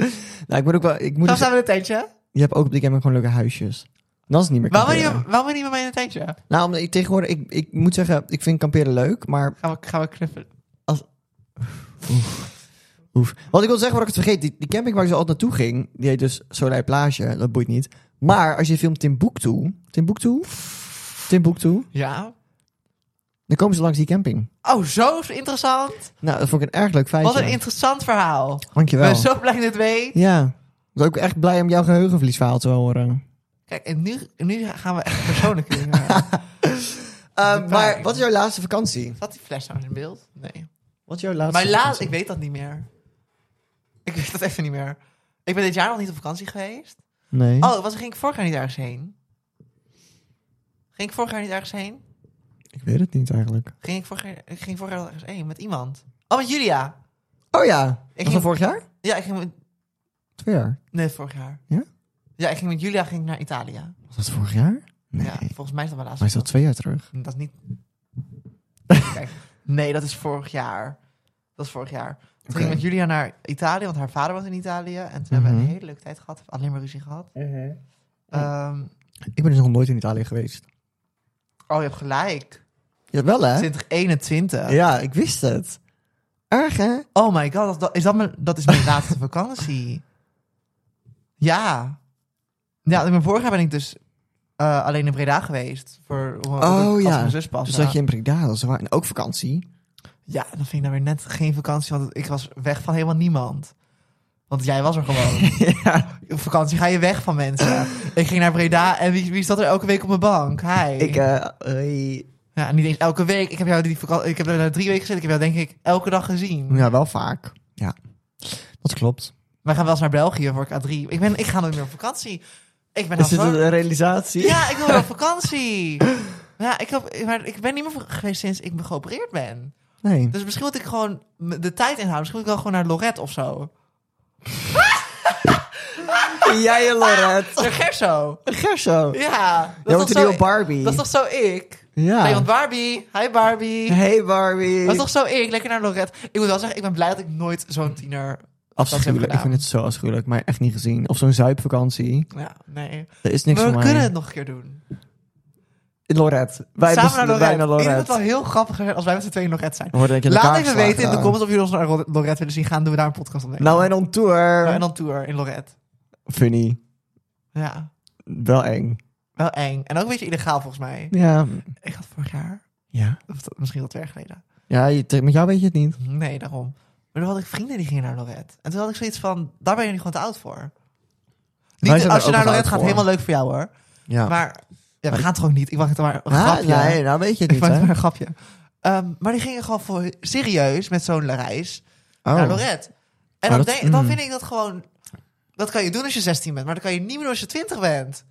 S1: Nou, ik moet ook wel... Ik moet
S2: Gaan
S1: dus-
S2: we samen in een tentje?
S1: je hebt ook op die camping gewoon leuke huisjes. Dan is het niet meer
S2: Waarom ben je,
S1: kamperen.
S2: waarom ben je niet met mij in een tentje?
S1: Nou, omdat ik tegenwoordig... Ik, ik moet zeggen, ik vind kamperen leuk, maar...
S2: Gaan we, gaan we knuffelen?
S1: Oef. Wat ik wil zeggen, wat ik het vergeet. Die, die camping waar ik zo altijd naartoe ging, die heet dus Soleil Plage. Dat boeit niet. Maar als je de film Timbuktu... Timbuktu? Timbuktu?
S2: Ja.
S1: Dan komen ze langs die camping.
S2: Oh, zo interessant.
S1: Nou, dat vond ik een erg leuk feitje.
S2: Wat een interessant verhaal. Ik
S1: Dankjewel.
S2: ben zo blij dat je het weet.
S1: Ja. Ik ben ook echt blij om jouw geheugenverliesverhaal te horen.
S2: Kijk, en nu, nu gaan we echt persoonlijke dingen. hebben. Eh,
S1: maar wat is jouw laatste vakantie?
S2: Zat die fles nou in beeld? Nee.
S1: Wat is jouw laatste
S2: Mijn laatste,
S1: vakantie?
S2: ik weet dat niet meer. Ik weet dat even niet meer. Ik ben dit jaar nog niet op vakantie geweest.
S1: Nee.
S2: Oh, was, ging ik vorig jaar niet ergens heen? Ging ik vorig jaar niet ergens heen?
S1: Ik weet het niet eigenlijk.
S2: Ging ik vorig jaar, ik ging vorig jaar ergens heen met iemand? Oh, met Julia.
S1: Oh ja.
S2: Ik
S1: was dat
S2: ging-
S1: vorig jaar?
S2: Ja, ik ging met
S1: Twee jaar.
S2: Nee, vorig jaar.
S1: Ja?
S2: Ja, ik ging met Julia ging ik naar Italië.
S1: Was dat vorig jaar? Nee.
S2: Ja, volgens mij is dat mijn laatste.
S1: Maar is dat twee jaar terug?
S2: vakantie. Dat is niet... Kijk, nee, dat is vorig jaar. Dat is vorig jaar. Toen ging ik met Julia naar Italië, want haar vader was in Italië. En toen hebben we een
S1: Mhm.
S2: hele leuke tijd gehad. Alleen maar ruzie gehad.
S1: Hm.
S2: Ehm,
S1: Ik ben dus nog nooit in Italië geweest.
S2: oh, je hebt gelijk.
S1: Jawel hè?
S2: 2021.
S1: Ja, ik wist het. Erg hè?
S2: Oh my god, dat, is dat, mijn, dat is mijn laatste vakantie. Ja. Ja, ik ben- vorig jaar ben ik dus eh, alleen in Breda geweest. Voor,
S1: Oh,
S2: als
S1: ja.
S2: mijn zus pas.
S1: Dus dat je in Breda was. waar- En ook vakantie.
S2: Ja, dan vind ik nou weer net geen vakantie, want ik was weg van helemaal niemand. Want jij was er gewoon.
S1: ja.
S2: Op vakantie ga je weg van mensen. ik ging naar Breda en wie, wie zat er elke week op mijn bank? Hi.
S1: Ik, eh, hoi.
S2: ja, niet eens elke week. Ik heb jou die vakantie, ik heb daar drie weken gezeten. Ik heb jou denk ik elke dag gezien.
S1: ja, wel vaak. Ja. Dat klopt.
S2: Wij gaan wel eens naar België voor K3. Ik, ben, ik ga nooit meer op vakantie. Ik ben al
S1: Is dit
S2: zo...
S1: een realisatie?
S2: Ja, ik wil weer op vakantie. Ja, ik, heb, maar ik ben niet meer geweest sinds ik me geopereerd ben.
S1: Nee.
S2: Dus misschien moet ik gewoon m- de tijd inhouden. Misschien moet ik wel gewoon naar Lorette of zo.
S1: Jij en Lorette.
S2: Naar Gerso.
S1: Gerso.
S2: Ja, dat
S1: Jij
S2: is
S1: wordt
S2: toch
S1: de
S2: zo-
S1: nieuwe Barbie.
S2: Dat is toch zo ik?
S1: Ja.
S2: Nee, want Barbie. Hi Barbie.
S1: Hey Barbie.
S2: Dat is toch zo ik? Lekker naar Lorette. Ik moet wel zeggen, ik ben blij dat ik nooit zo'n tiener
S1: Afschuwelijk.
S2: gedaan.
S1: Ik vind het zo afschuwelijk, maar echt niet gezien. Of zo'n zuipvakantie.
S2: Ja, nee.
S1: Er is niks
S2: Maar
S1: voor
S2: we
S1: mij.
S2: kunnen het nog een keer doen.
S1: Lorette. Wij
S2: Samen
S1: besluiten-
S2: naar Lorette.
S1: wij naar
S2: Ik denk dat het
S1: Lorette.
S2: wel heel grappig is als wij met z'n tweeën nog red zijn.
S1: We worden een keer in
S2: Laat
S1: elkaar
S2: even weten in
S1: geslagen.
S2: de comments of jullie ons naar Lor- Lorette willen zien gaan. Doen we daar een podcast om.
S1: Nou en on tour.
S2: en dan tour in Lorette.
S1: Funny.
S2: Ja,
S1: Wel eng.
S2: wel eng. En ook een beetje illegaal volgens mij.
S1: Ja.
S2: Ik had vorig jaar,
S1: Ja.
S2: of dat- misschien wel twee jaar geleden.
S1: Ja, je- te- met jou weet je het niet.
S2: Nee, daarom. Maar toen had ik vrienden die gingen naar Lorette. En toen had ik zoiets van, daar ben je nu gewoon te oud voor. Niet,
S1: zijn
S2: dat-
S1: er
S2: als je
S1: ook
S2: naar
S1: wel
S2: Lorette
S1: oud
S2: gaat,
S1: voor.
S2: helemaal leuk voor jou hoor.
S1: Ja.
S2: Maar ja, we gaan het gewoon niet. Ik wacht het maar een
S1: Ah,
S2: grapje.
S1: Nee, nou weet je het
S2: ik
S1: niet,
S2: maak
S1: hè?
S2: maar een grapje. Ehm, maar die gingen gewoon voor serieus met zo'n reis
S1: Oh.
S2: naar Lorette. En
S1: Maar
S2: dan,
S1: dat-
S2: denk, dan
S1: mm.
S2: vind ik dat gewoon... Dat kan je doen als je 16 bent, maar dat kan je niet meer doen als je 20 bent.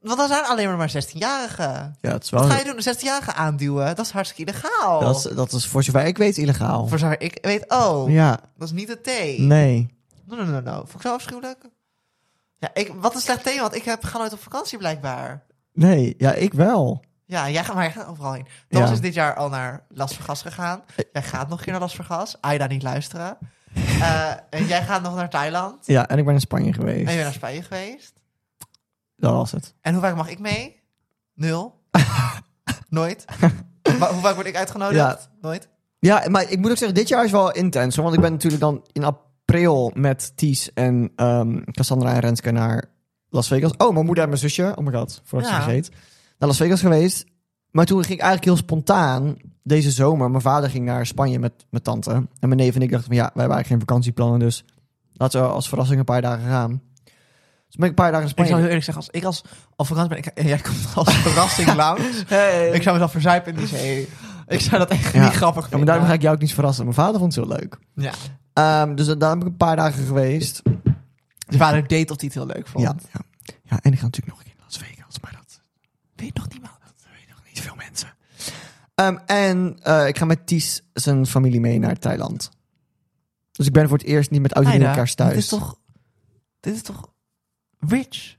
S2: Want dan zijn alleen maar maar 16-jarigen.
S1: Ja, het is wel...
S2: Wat ga je doen? Een 16-jarige aanduwen? Dat is hartstikke illegaal.
S1: Oh. Dat is, dat is voor zover ik weet illegaal.
S2: Voor zover ik weet, oh,
S1: Ja,
S2: dat is niet de thee.
S1: nee.
S2: No, no, no, no. Vond ik zo afschuwelijk. Ja, ik, wat een slecht thema, want ik heb, ga nooit op vakantie blijkbaar.
S1: Nee, ja, ik wel.
S2: Ja, jij gaat, maar jij gaat overal heen.
S1: Ja.
S2: Thomas
S1: Eh.
S2: is dit jaar al naar Las Vegas gegaan. Jij gaat nog een keer naar Las Vegas. Aida niet luisteren. Eh, en jij gaat nog naar Thailand.
S1: Ja, en ik ben in Spanje
S2: En je
S1: geweest.
S2: bent naar Spanje geweest.
S1: Dat was het.
S2: En hoe vaak mag ik mee? Nul. Nooit. maar hoe vaak word ik uitgenodigd? Nooit.
S1: Ja, maar ik moet ook zeggen, dit jaar is wel intens. hoor, Want ik ben natuurlijk dan in april met Ties en ehm, Cassandra en Renske naar Las Vegas. Oh, mijn moeder en mijn zusje. Oh my god, voordat ik
S2: Ja.
S1: ze vergeet. Naar Las Vegas geweest. Maar toen ging ik eigenlijk heel spontaan deze zomer. Mijn vader ging naar Spanje met mijn tante. En mijn neef en ik dachten van ja, wij hebben eigenlijk geen vakantieplannen. Dus laten we als verrassing een paar dagen gaan. Dus ben ik een paar dagen in
S2: Ik
S1: Spanje.
S2: zou heel eerlijk zeggen, als ik als op vakantie ben ik- en jij komt als verrassing langs. Ik zou mezelf verzuipen in die zee. Ik zou dat echt
S1: Ja.
S2: niet grappig
S1: Ja,
S2: vinden.
S1: maar daarom ga ik jou ook niet verrassen. Mijn vader vond het heel leuk.
S2: Ja.
S1: Ehm, dus daar heb ik een paar dagen geweest.
S2: Je vader deed dat hij het heel leuk vond.
S1: Ja, ja. ja, en ik ga natuurlijk nog een keer naar Las Vegas, maar dat
S2: Weet nog niemand.
S1: weet nog niet veel mensen. Ehm, en eh, ik ga met Ties zijn familie mee naar Thailand. Dus ik ben voor het eerst niet met oud en
S2: Aida,
S1: elkaar thuis.
S2: Dit is toch... Dit is toch... Rich.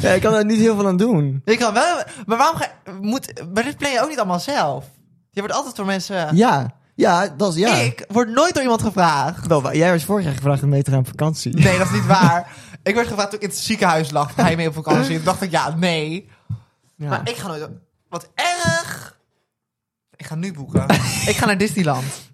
S1: ja, ik kan daar niet heel veel aan doen.
S2: ik kan wel... Maar waarom ga, moet, Maar dit play je ook niet allemaal zelf. Je wordt altijd door mensen...
S1: Ja, ja, dat is ja.
S2: Ah. Ik word nooit door iemand gevraagd.
S1: Wel, wa- jij was vorig jaar gevraagd om mee te gaan op vakantie.
S2: Nee, dat is niet waar. ik werd gevraagd toen ik in het ziekenhuis lag. Ga je mee op vakantie? Toen dacht ik, ja, nee.
S1: Ja.
S2: Maar ik ga nooit... Wat erg! Ik ga nu boeken. ik ga naar Disneyland.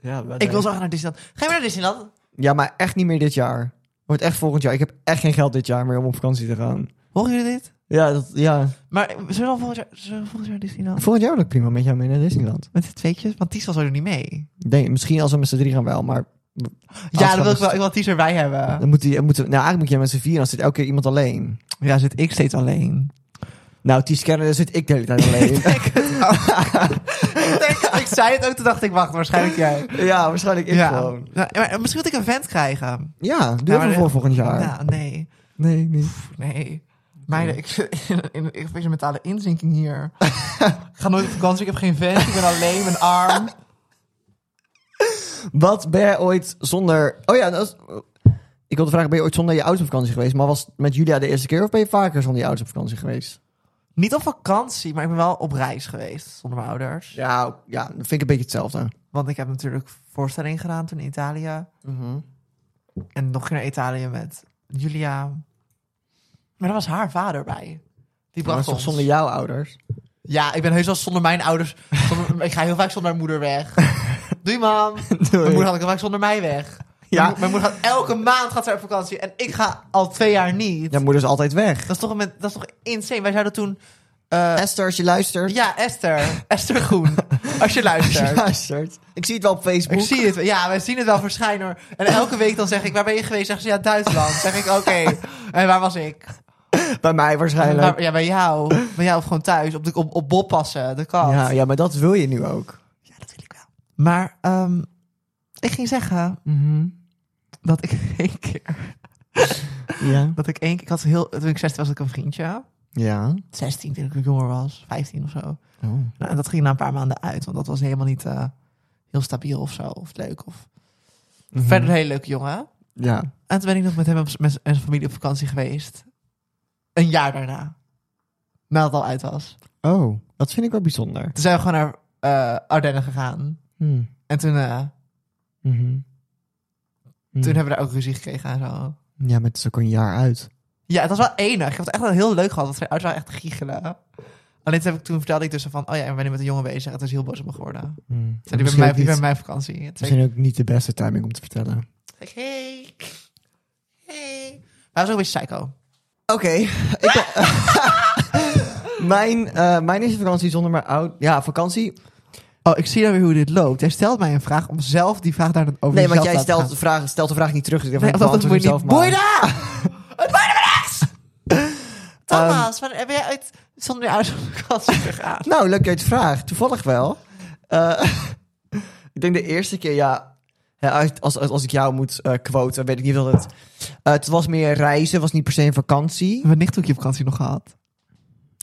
S1: ja, wel,
S2: Ik wil
S1: nee.
S2: zo graag naar Disneyland. Ga je mee naar Disneyland?
S1: ja, maar echt niet meer dit jaar. Wordt echt volgend jaar. Ik heb echt geen geld dit jaar meer om op vakantie te gaan.
S2: Horen jullie dit?
S1: Ja, dat, ja.
S2: Maar zullen we dan volgend jaar, zullen we volgend jaar Disneyland?
S1: volgend jaar wil ik prima met jou mee naar Disneyland.
S2: Met de tweetjes? Want Ties was er niet mee.
S1: Denk, misschien als we met z'n drie gaan wel, maar
S2: Ja,
S1: we
S2: dan wil ik wel,
S1: best-
S2: ik wil Ties erbij hebben.
S1: Dan moet die, moeten, we- nou, eigenlijk moet je met z'n vier, dan zit elke keer iemand alleen.
S2: Ja, zit ik steeds alleen.
S1: Nou, die scanner, daar zit ik de hele tijd alleen.
S2: ik, denk, ik zei het ook, toen dacht ik, wacht, waarschijnlijk jij.
S1: ja, waarschijnlijk ik
S2: Ja.
S1: gewoon.
S2: Nou, maar misschien moet ik een vent krijgen.
S1: Ja, doe
S2: Ja,
S1: even
S2: maar-
S1: voor volgend jaar.
S2: Ja, nee.
S1: Nee, niet.
S2: Pff, Nee. Meiden, ik zit in, in, ik heb een mentale inzinking hier. ik ga nooit op vakantie, ik heb geen vent, ik ben alleen, mijn arm.
S1: Wat ben jij ooit zonder... Oh ja, dat is- ik wilde vragen, ben je ooit zonder je ouders op vakantie geweest? Maar was het met Julia de eerste keer of ben je vaker zonder je ouders op vakantie geweest?
S2: Niet op vakantie, maar ik ben wel op reis geweest zonder mijn ouders.
S1: Ja, ja dat vind ik een beetje hetzelfde.
S2: Want ik heb natuurlijk voorstelling gedaan toen in Italië.
S1: Mhm.
S2: En nog een keer naar Italië met Julia. Maar daar was haar vader bij. Die
S1: Maar dat is
S2: bracht
S1: toch
S2: ons.
S1: zonder jouw ouders?
S2: Ja, ik ben heus wel zonder mijn ouders. zonder- ik ga heel vaak zonder mijn moeder weg. Doei, mam. Mijn moeder gaat ook heel vaak zonder mij weg.
S1: Ja.
S2: Mijn, mo- mijn moeder gaat elke maand gaat ze op vakantie. En ik ga al twee jaar niet.
S1: Jouw moeder is altijd weg.
S2: Dat, is toch een, men- dat is toch insane. Wij zouden toen... eh,
S1: Esther, als je luistert...
S2: ja, Esther. Esther Groen. Als je
S1: Als je
S2: luistert.
S1: luistert. Ik zie het wel op Facebook.
S2: Ik zie het. Ja, wij zien het wel verschijnen hoor. En elke week dan zeg ik, waar ben je geweest? Zeggen ze, ja, Duitsland. Zeg ik, oké. En waar was ik?
S1: Bij mij waarschijnlijk.
S2: Waar- ja, bij jou. Bij jou of gewoon thuis. Op, de, op, op Bob passen, de kat.
S1: Ja, ja, maar dat wil je nu ook.
S2: Ja, dat wil ik wel. Maar ehm, ik ging zeggen
S1: Mhm.
S2: dat ik één keer...
S1: Ja.
S2: Dat ik één keer... Ik had heel, toen ik 16 was, had ik een vriendje.
S1: Ja.
S2: 16 toen ik jonger was. 15 of zo.
S1: Oh.
S2: Nou, en dat ging na een paar maanden uit. Want dat was helemaal niet eh, heel stabiel of zo. Of leuk. Of... Verder een hele leuke jongen.
S1: Mhm. Ja.
S2: En toen ben ik nog met hem op, met zijn familie op vakantie geweest. Een jaar daarna. Nadat het al uit was.
S1: Oh, dat vind ik wel bijzonder. Hmm. Mhm.
S2: Toen zijn we gewoon naar eh Ardennen gegaan. En toen eh, Toen hebben we daar ook ruzie gekregen en zo.
S1: Ja, maar het is ook een jaar uit.
S2: Ja, het was wel enig. Ik had het echt wel heel leuk gehad. Dat zijn uitzag echt giechelen. Alleen toen, heb ik, toen vertelde ik dus van, oh ja, ik ben nu met een jongen bezig. Het is heel boos op me geworden.
S1: Mm.
S2: Zei, Hmm. die bij mij, die bij mijn vakantie. Het
S1: Misschien ook niet de beste timing om te vertellen. Oké,
S2: Hey. Hey. Hey. Maar hij was ook een beetje psycho.
S1: ik ben- mijn, eh, mijn eerste vakantie zonder mijn oud... Ja, vakantie.
S2: Oh, ik zie nou weer hoe dit loopt. Jij stelt mij een vraag om zelf die vraag daar dan over
S1: Nee, want
S2: jezelf
S1: jij
S2: te laten
S1: stelt
S2: gaan.
S1: de, vraag, stelt de vraag niet terug. Dus ik dacht,
S2: Nee,
S1: ik
S2: want dat
S1: beantwoord
S2: moet je
S1: hem
S2: niet.
S1: zelf maar.
S2: Boeida! Het boeide me niks! Thomas, wanneer heb jij uit zonder je ouders op vakantie gegaan?
S1: Nou, leuk dat je het vraagt. Toevallig wel. Eh, ik denk de eerste keer, ja. hè, uit- Als, als, als ik jou moet eh quoten, weet ik niet wat het. Eh, het was meer reizen, was niet per se een vakantie.
S2: Mijn nicht ook je op vakantie nog gehad.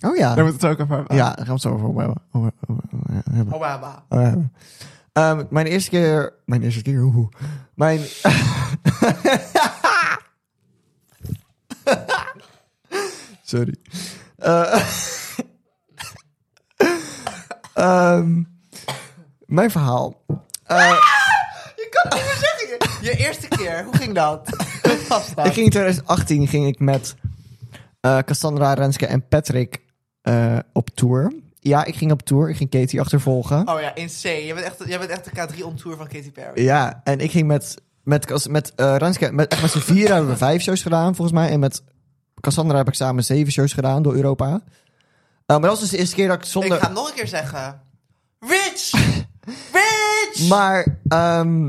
S1: Oh ja.
S2: moet het ook over hebben.
S1: Ja, daar gaan we het zo over hebben. Over- over- over hebben.
S2: Obama.
S1: Over hebben. Oh, Ehm, mijn eerste keer. Mijn eerste keer, hoe? Mijn. Sorry. Eh, ehm, mijn verhaal. Eh,
S2: Je kan het niet meer zeggen. Je eerste keer, hoe ging dat?
S1: Ik ging in 2018 ging ik met eh, Cassandra, Renske en Patrick eh, op tour. Ja, ik ging op tour. Ik ging Katie achtervolgen.
S2: Oh ja, insane. Jij bent echt, jij bent echt de K3 on tour van Katy Perry.
S1: Ja, en ik ging met, met, Cas- met eh, Renske, met, echt met z'n vier hebben we vijf shows gedaan volgens mij. En met Cassandra heb ik samen zeven shows gedaan door Europa. Eh, maar dat was dus de eerste keer dat ik zonder...
S2: Ik ga het nog een keer zeggen. Rich! Rich!
S1: Maar ehm,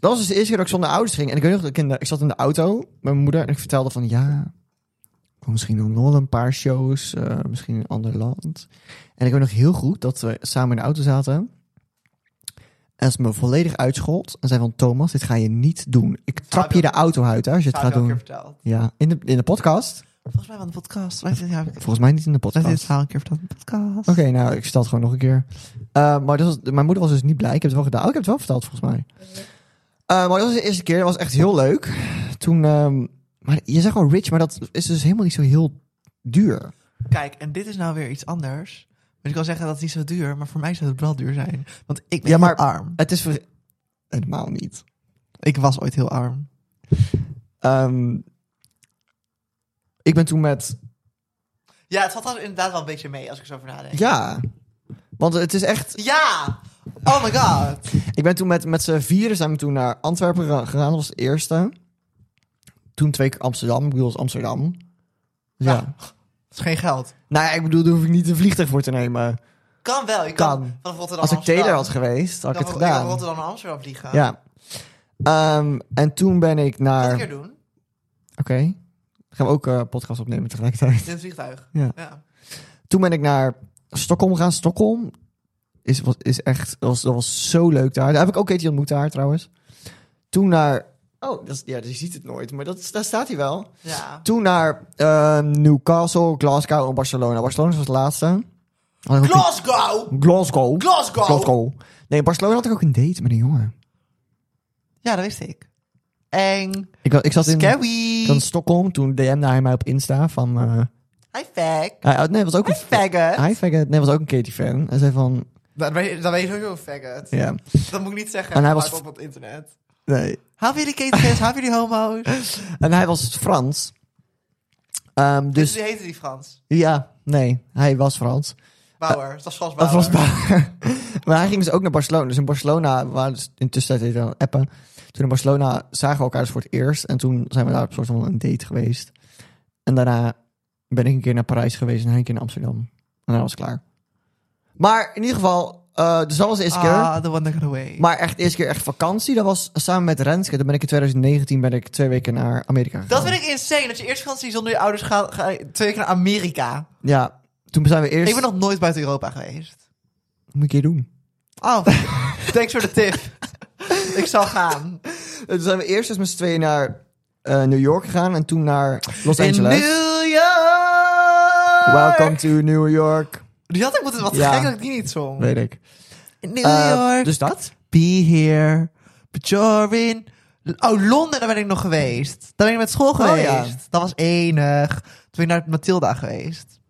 S1: dat was dus de eerste keer dat ik zonder ouders ging. En ik weet nog dat ik, in de, ik zat in de auto met mijn moeder en ik vertelde van ja, ik wil misschien nog wel een paar shows, eh, misschien in een ander land. En ik weet nog heel goed dat we samen in de auto zaten. En ze me volledig uitschold en zei van Thomas, dit ga je niet doen. Ik trap je de auto uit hè, als je
S2: Ik
S1: het
S2: heb
S1: gaat
S2: het al een keer
S1: doen.
S2: verteld.
S1: Ja, in de, in de podcast.
S2: Volgens mij van de podcast. Wij zitten- ja, ik-
S1: Volgens mij niet in de
S2: wij zitten
S1: podcast.
S2: het verhaal een keer verteld in de podcast.
S1: Oké, nou, ik vertel het gewoon nog een keer. Eh, maar dat was, mijn moeder was dus niet blij. Ik heb het wel gedaan. Oh, ik heb het wel verteld, volgens mij. Eh, maar dat was de eerste keer. Dat was echt heel leuk. Toen, ehm, maar je zegt wel rich, maar dat is dus helemaal niet zo heel duur.
S2: Kijk, en dit is nou weer iets anders. Dus ik kan zeggen dat het niet zo duur, maar voor mij zou het wel duur zijn. Want ik ben
S1: Ja, maar-
S2: heel arm.
S1: Het is voor... helemaal niet.
S2: Ik was ooit heel arm.
S1: Ehm, ik ben toen met...
S2: Ja, het valt dan inderdaad wel een beetje mee als ik zo over nadenk.
S1: Ja, want het is echt...
S2: Ja! Oh my god.
S1: Ik ben toen met, met z'n vieren zijn we toen naar Antwerpen gera- gegaan. Dat was de eerste. Toen twee keer Amsterdam. Ik bedoel, dat is Amsterdam. Dus ja.
S2: Ja. Dat is geen geld.
S1: Nou ja, ik bedoel, daar hoef ik niet een vliegtuig voor te nemen.
S2: Kan wel. Je
S1: Kan.
S2: kan, van Rotterdam
S1: Als ik
S2: naar Amsterdam.
S1: Taylor had geweest, had ik
S2: Dan
S1: het
S2: wil- wil
S1: gedaan.
S2: Rotterdam naar Amsterdam vliegen.
S1: Ja. Ehm, en toen ben ik
S2: Kan ik
S1: naar...
S2: een
S1: Oké.
S2: keer doen.
S1: Gaan we ook eh podcast opnemen tegelijkertijd.
S2: In het vliegtuig.
S1: Ja.
S2: ja.
S1: Toen ben ik naar Stockholm gegaan. Stockholm is, was, is echt... Dat was, dat was zo leuk daar. Daar heb ik ook Katie ontmoet daar trouwens. Toen naar... Oh, dat is, ja, je ziet het nooit. Maar dat, daar staat hij wel.
S2: Ja.
S1: Toen naar eh, Newcastle, Glasgow en Barcelona. Barcelona was de laatste. Had ik ook een-
S2: Glasgow!
S1: Glasgow.
S2: Glasgow!
S1: Glasgow. Nee, in Barcelona had ik ook een date met een jongen.
S2: Ja, dat wist ik. Eng.
S1: Ik, wa- ik zat in,
S2: Scary.
S1: ik zat in Stockholm, toen DM'de hij mij op Insta van... eh
S2: Hi, fag.
S1: hij, oh, nee, was ook een...
S2: Hi, faggot.
S1: Hij faggot, nee, was ook een Katy-fan. Hij zei van...
S2: Dan ben je, dan ben je sowieso een faggot.
S1: Ja,
S2: Dat moet ik niet zeggen.
S1: En hij
S2: maar
S1: was-
S2: op het internet. Dus-
S1: nee.
S2: Hebben jullie ketens? Hebben jullie homo's?
S1: En hij was Frans. Ehm,
S2: Dus
S1: dus
S2: die heette die Frans.
S1: ja, nee, hij was Frans.
S2: Bauer. dat was Frans
S1: Dat
S2: Bauer.
S1: was waar. maar hij ging dus ook naar Barcelona. Dus in Barcelona, we waren dus intussen tijd aan het appen. Toen in Barcelona zagen we elkaar dus voor het eerst. En toen zijn we daar op soort van een date geweest. En daarna ben ik een keer naar Parijs geweest en hij een keer naar Amsterdam. En dan was ik klaar. Maar in ieder geval, eh, dus dat was de eerste keer.
S2: Ah, the one that got away.
S1: Maar echt de eerste keer echt vakantie, dat was samen met Renske. Dan ben ik in 2019 ben ik twee weken naar Amerika gegaan.
S2: dat vind ik insane. Dat je eerst vakantie zonder je ouders gaat. Ga, twee keer naar Amerika.
S1: Ja, toen zijn we eerst...
S2: Ik ben nog nooit buiten Europa geweest.
S1: Moet ik hier doen?
S2: Oh, thanks voor de tip. ik zal gaan.
S1: Toen zijn we eerst dus met z'n tweeën naar eh, New York gegaan en toen naar Los Angeles.
S2: In New York.
S1: Welcome to New York.
S2: Die had ik moeten... Wat
S1: Ja.
S2: gek dat ik die niet zong.
S1: Weet ik.
S2: In New
S1: Eh,
S2: York.
S1: dus dat?
S2: Be here. But you're in... Oh, Londen, daar ben ik nog geweest. Daar ben ik met school geweest.
S1: Oh, ja.
S2: Dat was enig. Toen ben ik naar Matilda geweest.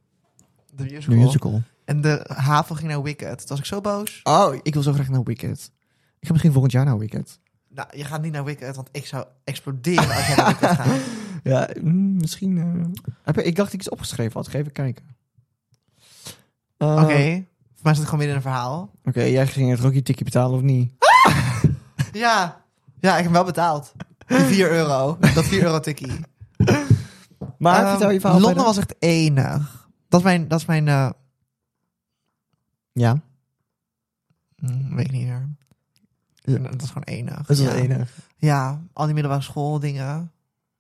S2: De musical. En de haven ging naar Wicked. Toen was ik zo boos.
S1: Oh, ik wil zo graag naar Wicked. Ik ga misschien volgend jaar naar Wicked.
S2: Nou, je gaat niet naar Wicked, want ik zou exploderen als jij naar Wicked gaat.
S1: Ja, mm, misschien. eh, heb ik, ik dacht dat ik iets opgeschreven had. Ga even kijken. Eh,
S2: Oké, voor mij zit ik gewoon midden in een verhaal.
S1: Oké, jij ging het Rocky Tikkie betalen of niet?
S2: Ja, ja, ik heb hem wel betaald. Die 4 euro, dat 4 euro tikkie.
S1: Maar
S2: Ehm,
S1: vertel je verhaal.
S2: Londen
S1: verder.
S2: was echt enig. Dat is mijn, dat is mijn eh,
S1: Ja,
S2: mm, weet ik niet meer.
S1: Ja.
S2: Dat is gewoon enig.
S1: dat is
S2: ja.
S1: wel enig.
S2: Ja, al die middelbare schooldingen.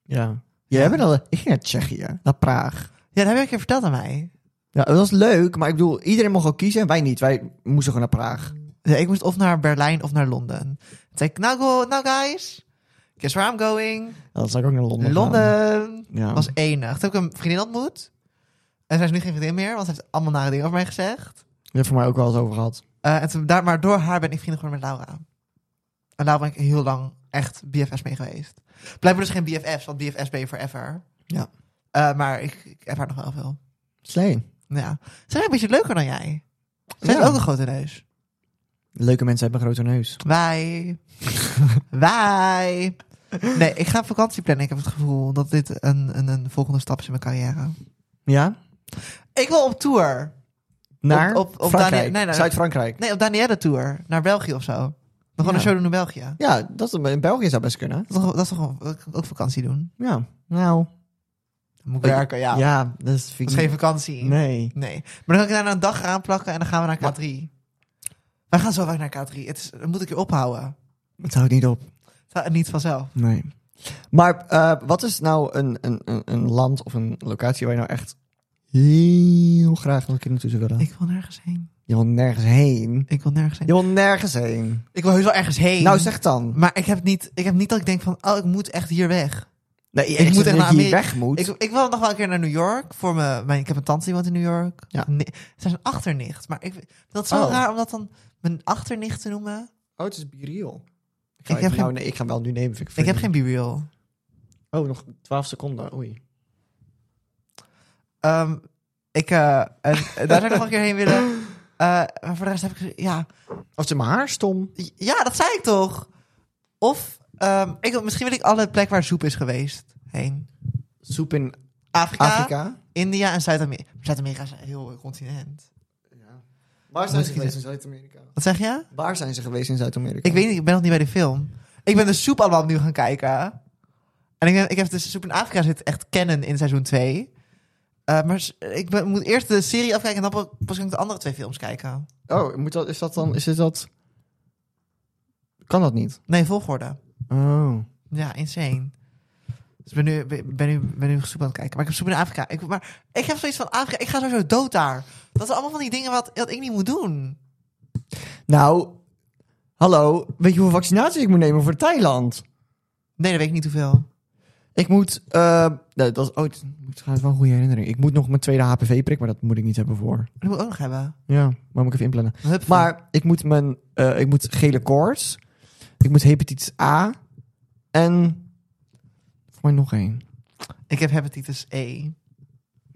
S1: Ja. Jij bent al, ik ging naar Tsjechië, naar Praag.
S2: Ja, dat heb je een keer verteld aan mij.
S1: Ja, dat was leuk, maar ik bedoel, iedereen mocht ook kiezen en wij niet. Wij moesten gewoon naar Praag.
S2: Ja, ik moest of naar Berlijn of naar Londen. Toen zei ik, nou, go, nou guys, guess where I'm going?
S1: Ja, dat zou ik ook naar Londen. gaan.
S2: Londen.
S1: Ja.
S2: was enig. Toen heb ik een vriendin ontmoet. En zij is nu geen vriendin meer, want ze heeft allemaal nare dingen over mij gezegd.
S1: Je hebt voor mij ook wel eens over gehad.
S2: Eh, en toen, daar, maar door haar ben ik vrienden geworden met Laura. En daar ben ik heel lang echt BFS mee geweest. Blijkbaar dus geen BFF's, want BFS ben je forever.
S1: Ja.
S2: Eh, maar ik, ik heb haar nog wel veel.
S1: Slee.
S2: Ja. Ze is een beetje leuker dan jij. Ze
S1: Ja.
S2: heeft ook een grote neus.
S1: Leuke mensen hebben een grote neus.
S2: Wij. Wij. Nee, ik ga op vakantie plannen. Ik heb het gevoel dat dit een, een, een volgende stap is in mijn carrière.
S1: Ja?
S2: Ik wil op tour.
S1: Naar
S2: op- op
S1: Frankrijk.
S2: Danië- nee, nee,
S1: Zuid-Frankrijk.
S2: Nee, op Danielle Tour. Naar België of zo. Dan gewoon
S1: Ja.
S2: een show doen in België.
S1: Ja, dat, in België zou best kunnen.
S2: Dat is toch, dat is toch een- dat kan ik ook vakantie doen?
S1: Ja. Nou.
S2: Dan moet ik
S1: Ja.
S2: werken, ja.
S1: Ja, dat is...
S2: Dat is geen vakantie.
S1: Nee.
S2: Nee. Maar dan kan ik daar een dag aan plakken en dan gaan we naar K3. Wij gaan zo vaak naar K3. Het is, dan moet ik je ophouden.
S1: Het houdt niet op.
S2: Het gaat niet vanzelf.
S1: Nee. Maar eh, wat is nou een, een, een, een land of een locatie waar je nou echt heel graag nog een keer naartoe zou willen?
S2: Ik wil nergens heen.
S1: Je wil nergens heen.
S2: Ik wil nergens heen.
S1: Je wil nergens heen.
S2: Ik wil heus wel ergens heen.
S1: Nou, zeg dan.
S2: Maar ik heb, niet, ik heb niet dat ik denk van, oh, ik moet echt hier weg.
S1: Nee, ik,
S2: moet
S1: moet echt
S2: echt naar
S1: dat je hier
S2: Amerika.
S1: weg moet.
S2: Ik, ik wil nog wel een keer naar New York. Voor mijn, mijn, ik heb een tante die woont in New York.
S1: Ja.
S2: Nee, Ze is een achternicht. Maar ik, dat is zo
S1: Oh.
S2: raar om dat dan mijn achternicht te noemen.
S1: Oh, het is biriel. Ik
S2: Ik
S1: ga,
S2: heb
S1: even-
S2: geen-
S1: nou, nee, ik ga hem wel nu nemen. vind
S2: Ik heb
S1: vind-
S2: geen BBL.
S1: Oh, nog 12 seconden. Oei.
S2: Ehm ik, eh, en- en daar zou ik nog een keer heen willen. Eh, maar voor de rest heb ik... gez- Ja,
S1: Of ze mijn haar stom.
S2: ja dat zei ik toch? Of ehm, ik, misschien wil ik alle plek waar soep is geweest heen.
S1: Soep in
S2: Afrika,
S1: Afrika.
S2: India en Zuid-Amerika. Zuid-Amerika is een heel continent.
S1: Waar
S2: zijn ze geweest
S1: in Zuid-Amerika?
S2: Wat zeg je?
S1: Waar zijn ze geweest in Zuid-Amerika?
S2: Ik weet niet, ik ben nog niet bij de film. Ik ben de soep allemaal opnieuw gaan kijken. En ik, ben, ik heb de soep in Afrika zit echt kennen in seizoen 2. maar s- ik ben- moet eerst de serie afkijken en dan pa- pas kan ik de andere twee films kijken.
S1: Oh, moet dat, is dat dan... Is dit dat... Kan dat niet?
S2: Nee, volgorde.
S1: Oh.
S2: Ja, insane. Dus ik ben nu, ben, ben nu, ben nu soep aan het kijken. Maar ik heb soep in Afrika. Ik, maar ik heb zoiets van Afrika. Ik ga sowieso dood daar. Dat zijn allemaal van die dingen wat, wat ik niet moet doen.
S1: Nou, hallo. Weet je hoeveel vaccinaties ik moet nemen voor Thailand?
S2: Nee, dat weet ik niet hoeveel.
S1: Ik moet... eh, nee, dat, oh, het het gaat wel een goede herinnering. Ik moet nog mijn tweede HPV-prik, maar dat moet ik niet hebben voor.
S2: Dat moet ik ook nog hebben.
S1: Ja, maar moet ik even inplannen.
S2: Hup.
S1: Maar ik moet, mijn, eh, ik moet gele koorts. Ik moet hepatitis A. En... Voor mij nog één.
S2: Ik heb hepatitis E.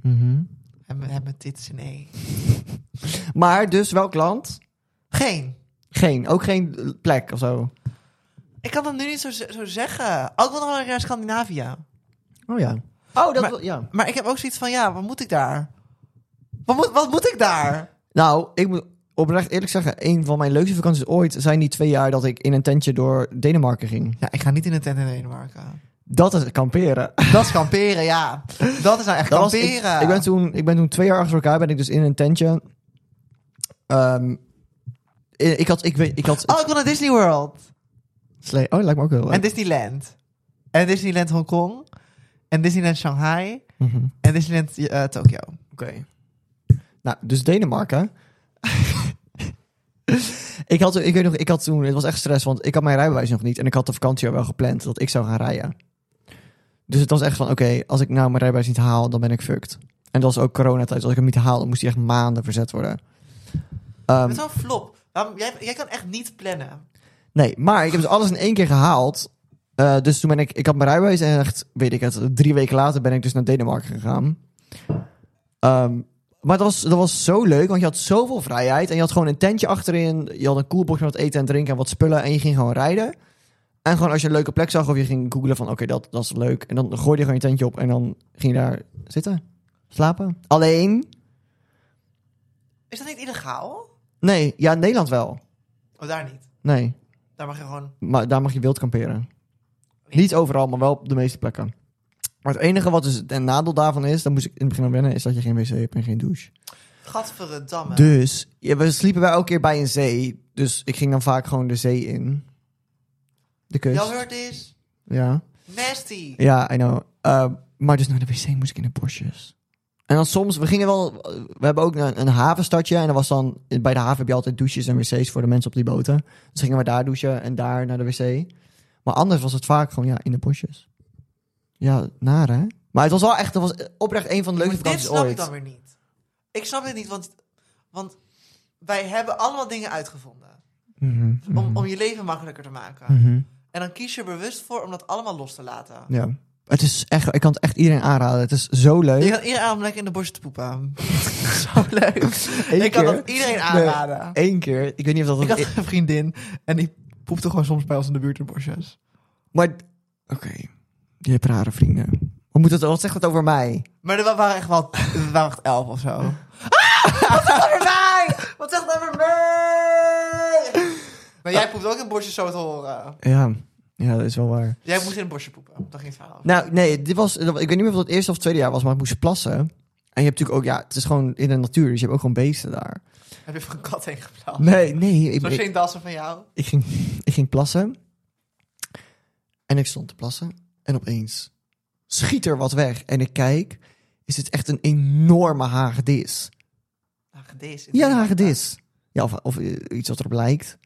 S1: Mhm.
S2: Heb- Hepatitis in E.
S1: Maar dus welk land?
S2: Geen.
S1: Geen. Ook geen eh, plek of zo.
S2: Ik kan dat nu niet zo, zo zeggen. Ook wel nog wel een keer naar Scandinavië.
S1: Oh ja. Oh, dat
S2: Maar-
S1: wil- ja.
S2: Maar ik heb ook zoiets van, ja, wat moet ik daar? Wat moet, wat moet ik daar?
S1: Nou, ik moet oprecht eerlijk zeggen, een van mijn leukste vakanties ooit zijn die twee jaar dat ik in een tentje door Denemarken ging.
S2: Ja, ik ga niet in een tent in Denemarken.
S1: Dat is kamperen.
S2: Dat is kamperen, ja. Dat is nou echt
S1: Dat was-
S2: kamperen.
S1: ik, ik, ben toen, ik ben toen twee jaar achter elkaar ben ik dus in een tentje. Ehm, eh, ik had, ik weet, ik had.
S2: Oh, ik wil naar Disney World.
S1: Slee- oh, lijkt me ook heel leuk.
S2: En Disneyland. En Disneyland Hongkong. En Disneyland Shanghai.
S1: Mhm.
S2: En Disneyland eh, Tokio.
S1: Oké. Nou, dus Denemarken. ik, had, ik weet nog, ik had toen, het was echt stress, want ik had mijn rijbewijs nog niet. En ik had de vakantie al wel gepland dat ik zou gaan rijden. Dus het was echt van, oké, als ik nou mijn rijbewijs niet haal, dan ben ik fucked. En dat was ook coronatijd. Als ik hem niet haalde, dan moest hij echt maanden verzet worden. Ehm,
S2: Het is zo'n flop. Waarom- jij, jij kan echt niet plannen.
S1: nee, maar ik heb dus alles in één keer gehaald. Eh, dus toen ben ik, ik had mijn rijbewijs en echt, weet ik het, drie weken later ben ik dus naar Denemarken gegaan. Ehm, maar dat was, dat was zo leuk, want je had zoveel vrijheid. En je had gewoon een tentje achterin. Je had een koelbox met wat eten en drinken en wat spullen. En je ging gewoon rijden. En gewoon als je een leuke plek zag of je ging googlen van oké, dat, dat is leuk. En dan gooide je gewoon je tentje op en dan ging je daar zitten. Slapen. Alleen?
S2: Is dat niet illegaal?
S1: Nee. Ja, in Nederland wel.
S2: Oh, daar niet.
S1: Nee.
S2: Daar mag je gewoon...
S1: Maar daar mag je wild kamperen. Niet overal, maar wel op de meeste plekken. Maar het enige wat dus een nadeel daarvan is, daar moest ik in het begin aan wennen, is dat je geen wc hebt en geen douche.
S2: Gadverdamme.
S1: Dus, ja, we sliepen wij elke keer bij een zee. Dus ik ging dan vaak gewoon de zee in. De kust.
S2: Y'all heard this?
S1: Ja.
S2: Nasty.
S1: Ja, I know. Uh, maar dus naar de wc moest ik in de bosjes. En dan soms, we gingen wel, we hebben ook een, een havenstadje. En dan was dan, bij de haven heb je altijd douches en wc's voor de mensen op die boten. Dus gingen we daar douchen en daar naar de wc. Maar anders was het vaak gewoon, ja, in de bosjes. Ja, naar hè? Maar het was wel echt, het was oprecht een van de leukste
S2: Maar dit
S1: vakanties
S2: snap ik
S1: ooit.
S2: dan weer niet. Ik snap dit niet, want, want wij hebben allemaal dingen uitgevonden.
S1: Mhm,
S2: Om, om je leven makkelijker te maken.
S1: mhm.
S2: En dan kies je er bewust voor om dat allemaal los te laten.
S1: Ja. Het is echt, ik kan het echt iedereen aanraden. Het is zo leuk.
S2: Je kan iedereen aan om lekker in de borst te poepen. Zo leuk.
S1: Eén
S2: ik kan
S1: keer.
S2: dat iedereen aanraden.
S1: Eén keer, ik weet niet of dat...
S2: Ik had een vriendin en die poepte gewoon soms bij ons in de buurt in borstjes.
S1: Maar, oké. Je hebt rare vrienden. Wat, moet dat, wat zegt dat over mij?
S2: Maar er wa- waren echt wel er waren echt elf of zo. Ah, wat zegt dat over mij? Wat zegt dat over mij? Maar jij poept ook in borstjes zo te horen.
S1: Ja, ja dat is wel waar.
S2: Jij moest in een borstje poepen. Dat ging het verhaal. over.
S1: Nou, nee, dit was, ik weet niet meer of dat het eerste of tweede jaar was, maar ik moest plassen. En je hebt natuurlijk ook, ja, het is gewoon in de natuur, dus je hebt ook gewoon beesten daar.
S2: Heb je van een kat heen geplaatst?
S1: Nee, nee, ik,
S2: Zo'n
S1: ik,
S2: Shane Dassen van jou?
S1: ik ging, ik ging plassen. En ik stond te plassen. En opeens schiet er wat weg. En ik kijk, is het echt een enorme hagedis.
S2: Hagedis.
S1: Ja, een hagedis. Ja, of, of eh, iets wat erop lijkt.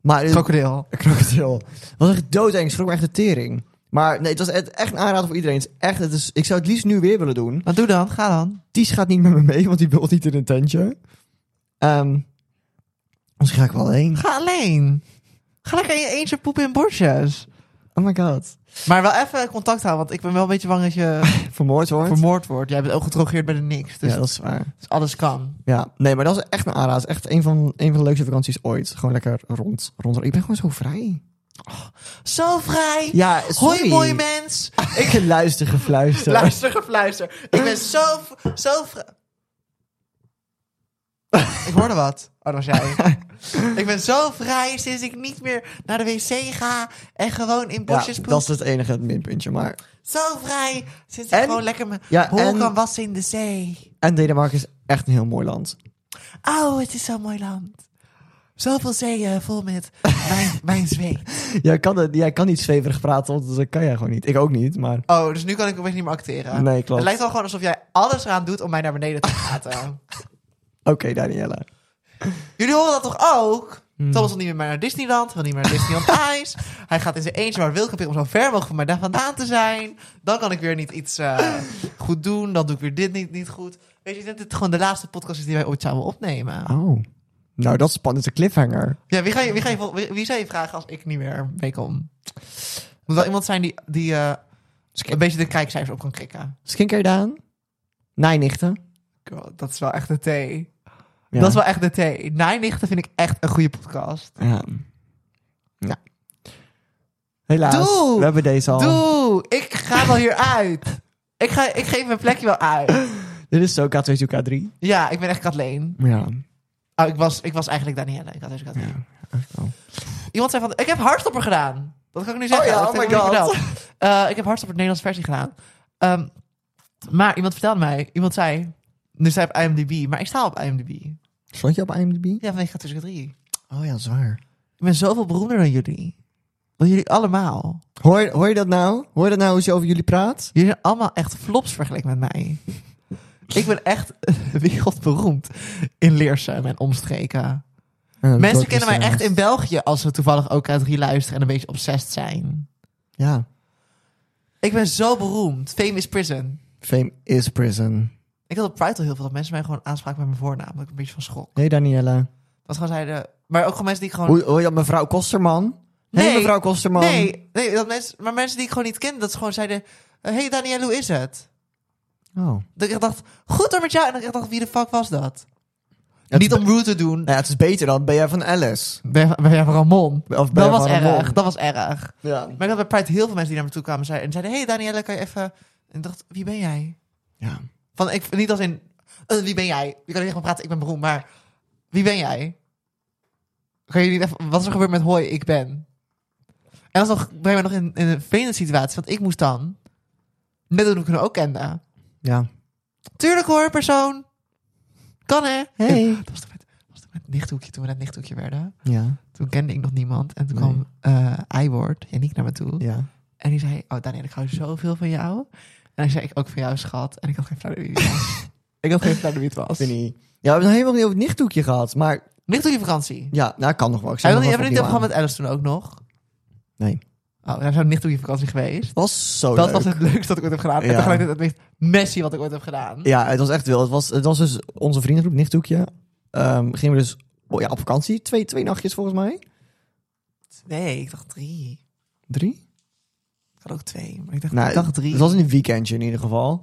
S1: Maar eh,
S2: Krokodil.
S1: Een krokodil. Het was echt doodeng. Ik schrok me echt de tering. Maar nee, het was echt echt een aanrader voor iedereen. Het is echt, het is, ik zou het liefst nu weer willen doen.
S2: Wat doe dan? Ga dan.
S1: Ties gaat niet met me mee, want die wil niet in een tentje. Ehm anders ga ik wel heen.
S2: Ga alleen. Ga lekker in je eentje poepen in borstjes.
S1: Oh my god.
S2: Maar wel even contact houden, want ik ben wel een beetje bang dat je
S1: Vermoord wordt.
S2: vermoord wordt. Jij bent ook gedrogeerd bij de niks, dus
S1: ja, dat is waar.
S2: dus alles kan.
S1: Ja, nee, maar dat is echt een aanrader. Het is echt een van, een van de leukste vakanties ooit. Gewoon lekker rond, rond. Ik ben gewoon zo vrij.
S2: Zo vrij.
S1: Ja,
S2: Hoi mooi mens.
S1: Ik luister gefluister.
S2: Luister, gefluister. Ik ben zo, v- zo vrij. ik hoorde wat. Oh, dat was jij. ik ben zo vrij sinds ik niet meer naar de wc ga en gewoon in
S1: Ja,
S2: bosjes poep.
S1: dat is het enige minpuntje. Maar...
S2: Zo vrij sinds ik
S1: En-
S2: gewoon lekker mijn
S1: Ja,
S2: hol
S1: en-
S2: kan wassen in de zee.
S1: En Denemarken is echt een heel mooi land.
S2: Oh, het is zo'n mooi land. Zoveel zeeën vol met mijn, mijn zweet.
S1: Jij kan, het- jij kan niet zweverig praten, want dat kan jij gewoon niet. Ik ook niet, maar...
S2: Oh, dus nu kan ik opeens niet meer acteren.
S1: Nee, klopt.
S2: Het lijkt wel gewoon alsof jij alles eraan doet om mij naar beneden te praten.
S1: Oké, Danielle.
S2: Jullie horen dat toch ook? Thomas wil niet meer naar Disneyland. Wil niet meer naar Disneyland Ice. Hij gaat in zijn eentje maar wil kamperen om zo ver mogelijk van mij daar vandaan te zijn. Dan kan ik weer niet iets eh, goed doen. Dan doe ik weer dit niet, niet goed. Weet je, ik denk dat dit gewoon de laatste podcast is die wij ooit zouden opnemen.
S1: Oh. Nou, dat is spannend. Een cliffhanger.
S2: Ja, wie, ga je, wie, ga je, vol- wie, wie zou je vragen als ik niet meer meekom? Moet wel iemand zijn die, die eh, een beetje de kijkcijfers op kan krikken.
S1: Skincare Daan? Nijnichten?
S2: God, dat is wel echt de thee.
S1: Ja.
S2: Dat is wel echt de thee. Nijnichten vind ik echt een goede podcast.
S1: Ja. ja. Helaas.
S2: Doe!
S1: We hebben deze al.
S2: Doe! Ik ga wel hier uit. Ik, ga, ik geef mijn plekje wel uit.
S1: Dit is zo K2-K3.
S2: Ja, ik ben echt Kathleen.
S1: Ja.
S2: Oh, ik was, ik was eigenlijk Danielle. Ik had dus Kathleen.
S1: Ja, echt wel.
S2: Iemand zei van, ik heb hardstopper gedaan. Dat kan ik nu zeggen.
S1: ja,
S2: dat
S1: oh
S2: heb ik
S1: my
S2: nog niet
S1: God.
S2: verteld. Eh, ik heb hardstopper de Nederlandse versie gedaan. Ehm, maar iemand vertelde mij, iemand zei, nu sta ik op IMDb, maar ik sta op IMDb.
S1: Stond je op IMDb?
S2: Ja, vanwege tussen drie.
S1: Oh ja, dat is waar.
S2: Ik ben zoveel beroemder dan jullie. Dan jullie allemaal.
S1: Hoor, je- hoor je dat nou? Hoor je dat nou hoe ze over jullie praat?
S2: Jullie zijn allemaal echt flops vergeleken met mij. Ik ben echt wereldberoemd in Leersum en omstreken. Mensen kennen
S1: dus,
S2: mij
S1: eh,
S2: echt in België als ze toevallig ook uit drie luisteren en een beetje obsessed zijn.
S1: Ja.
S2: Ik ben zo beroemd. Fame is prison.
S1: Fame is prison.
S2: Ik had op Pride al heel veel dat mensen mij gewoon aanspraken met mijn voornaam. Dat ik een beetje van schrok.
S1: Hey Danielle.
S2: Dat gewoon zeiden... Maar ook gewoon mensen die ik gewoon...
S1: Hoe hoor je dat mevrouw Kosterman? Nee.
S2: Nee.
S1: Hey mevrouw Kosterman.
S2: Nee, nee dat mensen, maar mensen die ik gewoon niet kende. Dat ze gewoon zeiden... Hé hey Danielle, hoe is het?
S1: Oh.
S2: Dat ik echt dacht, goed hoor met jou. En dat ik echt dacht, wie de fuck was dat?
S1: Het
S2: niet
S1: is
S2: om rude te doen.
S1: Nou ja, het is beter dan ben jij van Alice.
S2: Ben, ben jij van Ramon?
S1: Of ben
S2: Dat
S1: jij
S2: was
S1: van Ramon.
S2: erg, dat was erg.
S1: Ja.
S2: Maar ik had bij Pride heel veel mensen die naar me toe kwamen en zeiden, en zeiden hey Danielle, kan je even... En ik dacht, wie ben jij?
S1: ja.
S2: Van, ik, niet als in, eh, wie ben jij? Je kan er tegen me praten, ik ben beroemd, maar wie ben jij? Kan je niet even, wat is er gebeurd met hoi, ik ben? En dat was nog, ben je nog in, in een vervelende situatie, want ik moest dan net doen hoe ik hem ook kende.
S1: Ja.
S2: Tuurlijk hoor, persoon. Kan hè?
S1: Hey.
S2: Dat was toch met, dat was toch met nichthoekje, toen we net nichthoekje werden.
S1: Ja.
S2: Toen kende ik nog niemand. En toen
S1: Nee.
S2: kwam eh Iword, Yannick, naar me toe.
S1: Ja.
S2: En die zei, oh Daniel, ik hou zoveel van jou. En hij zei, ik ook van jou, schat. En ik had geen flauw idee wie het was. ik had geen flauw idee wie het was.
S1: Ik weet niet. Ja, we hebben nog helemaal niet over het nichtdoekje gehad. Maar
S2: Nichthoekje vakantie.
S1: ja, nou kan nog wel. Ik zet
S2: Hij wilde
S1: hem
S2: niet,
S1: nog
S2: hebben we
S1: even
S2: niet
S1: opnieuw
S2: gehad
S1: aan.
S2: met Alice toen ook nog?
S1: Nee.
S2: Oh, we zijn nichthoekje vakantie geweest.
S1: was zo
S2: dat
S1: leuk.
S2: was het leukste dat ik ooit heb gedaan. En
S1: Ja.
S2: tegelijkertijd het meest messy wat ik ooit heb gedaan.
S1: Ja, het was echt wel. Het was, het was dus onze vriendengroep, nichtdoekje. Ehm gingen we dus oh ja, op vakantie. Twee, twee nachtjes volgens mij.
S2: Nee, ik dacht drie.
S1: Drie?
S2: Ik had ook twee, maar ik dacht,
S1: Nou,
S2: ik dacht drie.
S1: Het was een weekendje in ieder geval.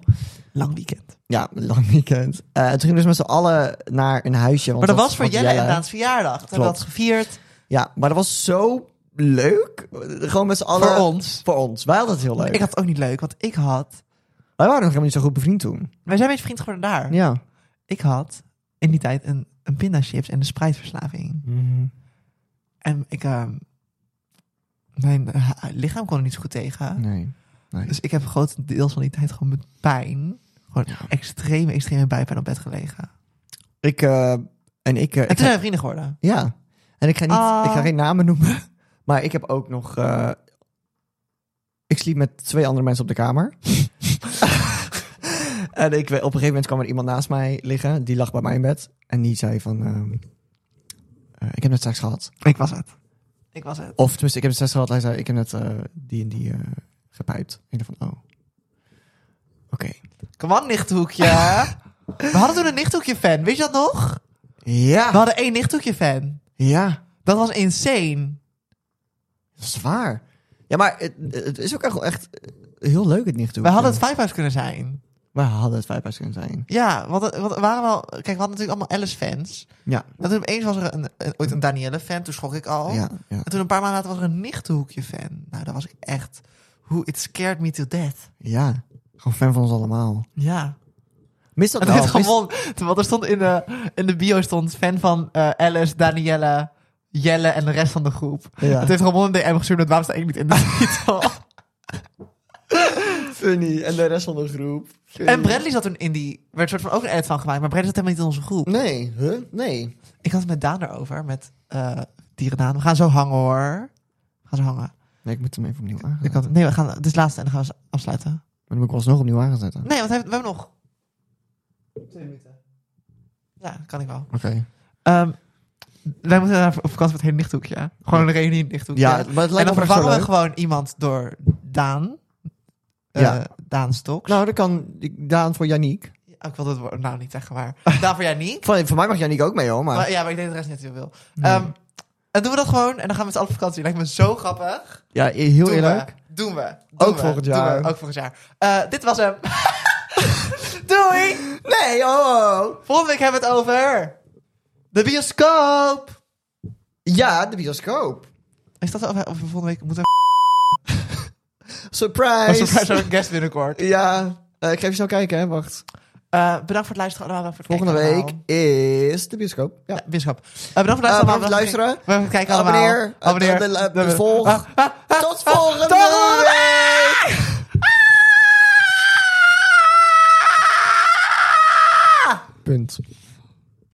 S2: lang weekend.
S1: Ja, een lang weekend. Eh en toen gingen we dus met z'n allen naar een huisje. want
S2: Maar dat was voor
S1: want
S2: Jelle en Daans verjaardag. Toen hebben we
S1: Klopt.
S2: dat gevierd.
S1: Ja, maar dat was zo leuk. Gewoon met z'n allen.
S2: Voor ons.
S1: Voor ons. Wij hadden het heel leuk.
S2: Ik had het ook niet leuk, want ik had...
S1: Wij waren nog helemaal niet zo goed bevriend toen.
S2: Wij zijn eens vriend geworden daar.
S1: Ja.
S2: Ik had in die tijd een, een pindachips en een spruitverslaving. En ik... ehm, mijn eh, lichaam kon er niet zo goed tegen.
S1: Nee. nee.
S2: Dus ik heb grotendeels van die tijd gewoon met pijn. Gewoon extreme, extreme bijpijn op bed gelegen.
S1: ik eh, en ik. eh,
S2: En
S1: ik
S2: toen
S1: ga-
S2: zijn we vrienden geworden.
S1: ja. En ik ga niet.
S2: Ah.
S1: Ik ga geen namen noemen. Maar ik heb ook nog. eh, ik sliep met twee andere mensen op de kamer. en ik, we- op een gegeven moment kwam er iemand naast mij liggen. Die lag bij mij in bed. En die zei van. ehm, eh, ik heb net seks gehad.
S2: Ik was het. Ik was het.
S1: Of tenminste, ik heb net seks gehad. Hij zei, ik heb net eh, die en die eh gepijpt. En ik dacht van, oh. Oké.
S2: Kom aan, nichthoekje. we hadden toen een nichthoekje-fan. Weet je dat nog? We
S1: Ja.
S2: hadden één nichthoekje-fan.
S1: Ja.
S2: Dat was insane.
S1: Zwaar. Ja, maar het, het is ook echt, wel echt heel leuk het niet doen.
S2: We hadden het Vijfhuis kunnen zijn.
S1: we hadden het vijfhuis kunnen zijn.
S2: Ja, want, het- want we waren wel... Kijk, we hadden natuurlijk allemaal Alice-fans.
S1: Ja.
S2: En toen opeens was er een, een- ooit een Danielle-fan. Toen schrok ik al.
S1: Ja, ja,
S2: En toen een paar maanden later was er een Nichtenhoekje-fan. Nou, dat was ik echt... Hoe it scared me to death.
S1: ja. Gewoon fan van ons allemaal.
S2: Ja.
S1: Mis dat
S2: En toen
S1: wel.
S2: werd
S1: mis-
S2: gewoon... Want er stond in de, in de bio stond fan van eh, Alice, Danielle, Jelle en de rest van de groep.
S1: Ja.
S2: Het heeft gewoon een DM gestuurd. Dat waarom staat ik niet in de titel?
S1: Funny. En de rest van de groep. Funny.
S2: en Bradley zat toen in die... werd soort van ook een edit van gemaakt. Maar Bradley zat helemaal niet in onze groep.
S1: Nee, huh? Nee.
S2: Ik had het met Daan erover, met eh dieren Daan. We gaan zo hangen hoor. We gaan zo hangen.
S1: Nee, ik moet hem even opnieuw aanzetten.
S2: Ik had, nee, we gaan, dit is het laatste en dan gaan we s- afsluiten.
S1: Maar dan moet ik wel nog opnieuw aanzetten.
S2: Nee, want we hebben, we hebben nog... Twee minuten. Ja, dat kan ik wel.
S1: Oké.
S2: Ehm, wij moeten naar op vakantie met het hele nichthoekje. Gewoon een reunie in het nichthoekje.
S1: Ja, maar het
S2: en
S1: lijkt
S2: dan
S1: me echt zo
S2: vervangen we
S1: leuk.
S2: gewoon iemand door Daan. Eh,
S1: Ja.
S2: Daan Stoks.
S1: Nou, dat kan ik- Daan voor Yannick.
S2: Ja, ik wil dat woord nou niet zeggen, maar... Daan voor jou niet.
S1: Van, voor mij mag Yannick ook mee hoor, maar...
S2: Maar, ja, maar ik denk dat de rest niet heel veel. Ehm, en doen we dat gewoon en dan gaan we met z'n allen op vakantie. Lijkt me zo grappig.
S1: ja, heel
S2: Doen
S1: eerlijk.
S2: We, doen we. Doen
S1: Ook
S2: we,
S1: volgend
S2: doen
S1: jaar.
S2: we, ook volgend jaar. Eh, dit was hem. Doei!
S1: Nee, oh, oh.
S2: Volgende week hebben we het over... De bioscoop!
S1: Ja, de bioscoop.
S2: Is dat over, over volgende week? Moeten we...
S1: Oh, Surprise.
S2: Surprise, een guest binnenkort.
S1: Ja. Eh, ik ga even snel kijken, hè. Wacht.
S2: Eh, bedankt voor het luisteren. allemaal, voor het
S1: Volgende
S2: kijken
S1: week
S2: allemaal.
S1: is de bioscoop. Ja.
S2: Ja, bioscoop. Eh, bedankt voor het
S1: Eh,
S2: luisteren.
S1: bedankt voor het
S2: allemaal.
S1: luisteren.
S2: Bedankt voor het kijken allemaal.
S1: Abonneer. Eh,
S2: Abonneer.
S1: eh, eh,
S2: Doei.
S1: volg.
S2: Ah, ah, ah,
S1: Tot
S2: ah,
S1: volgende
S2: tot-
S1: week! Ah! Punt.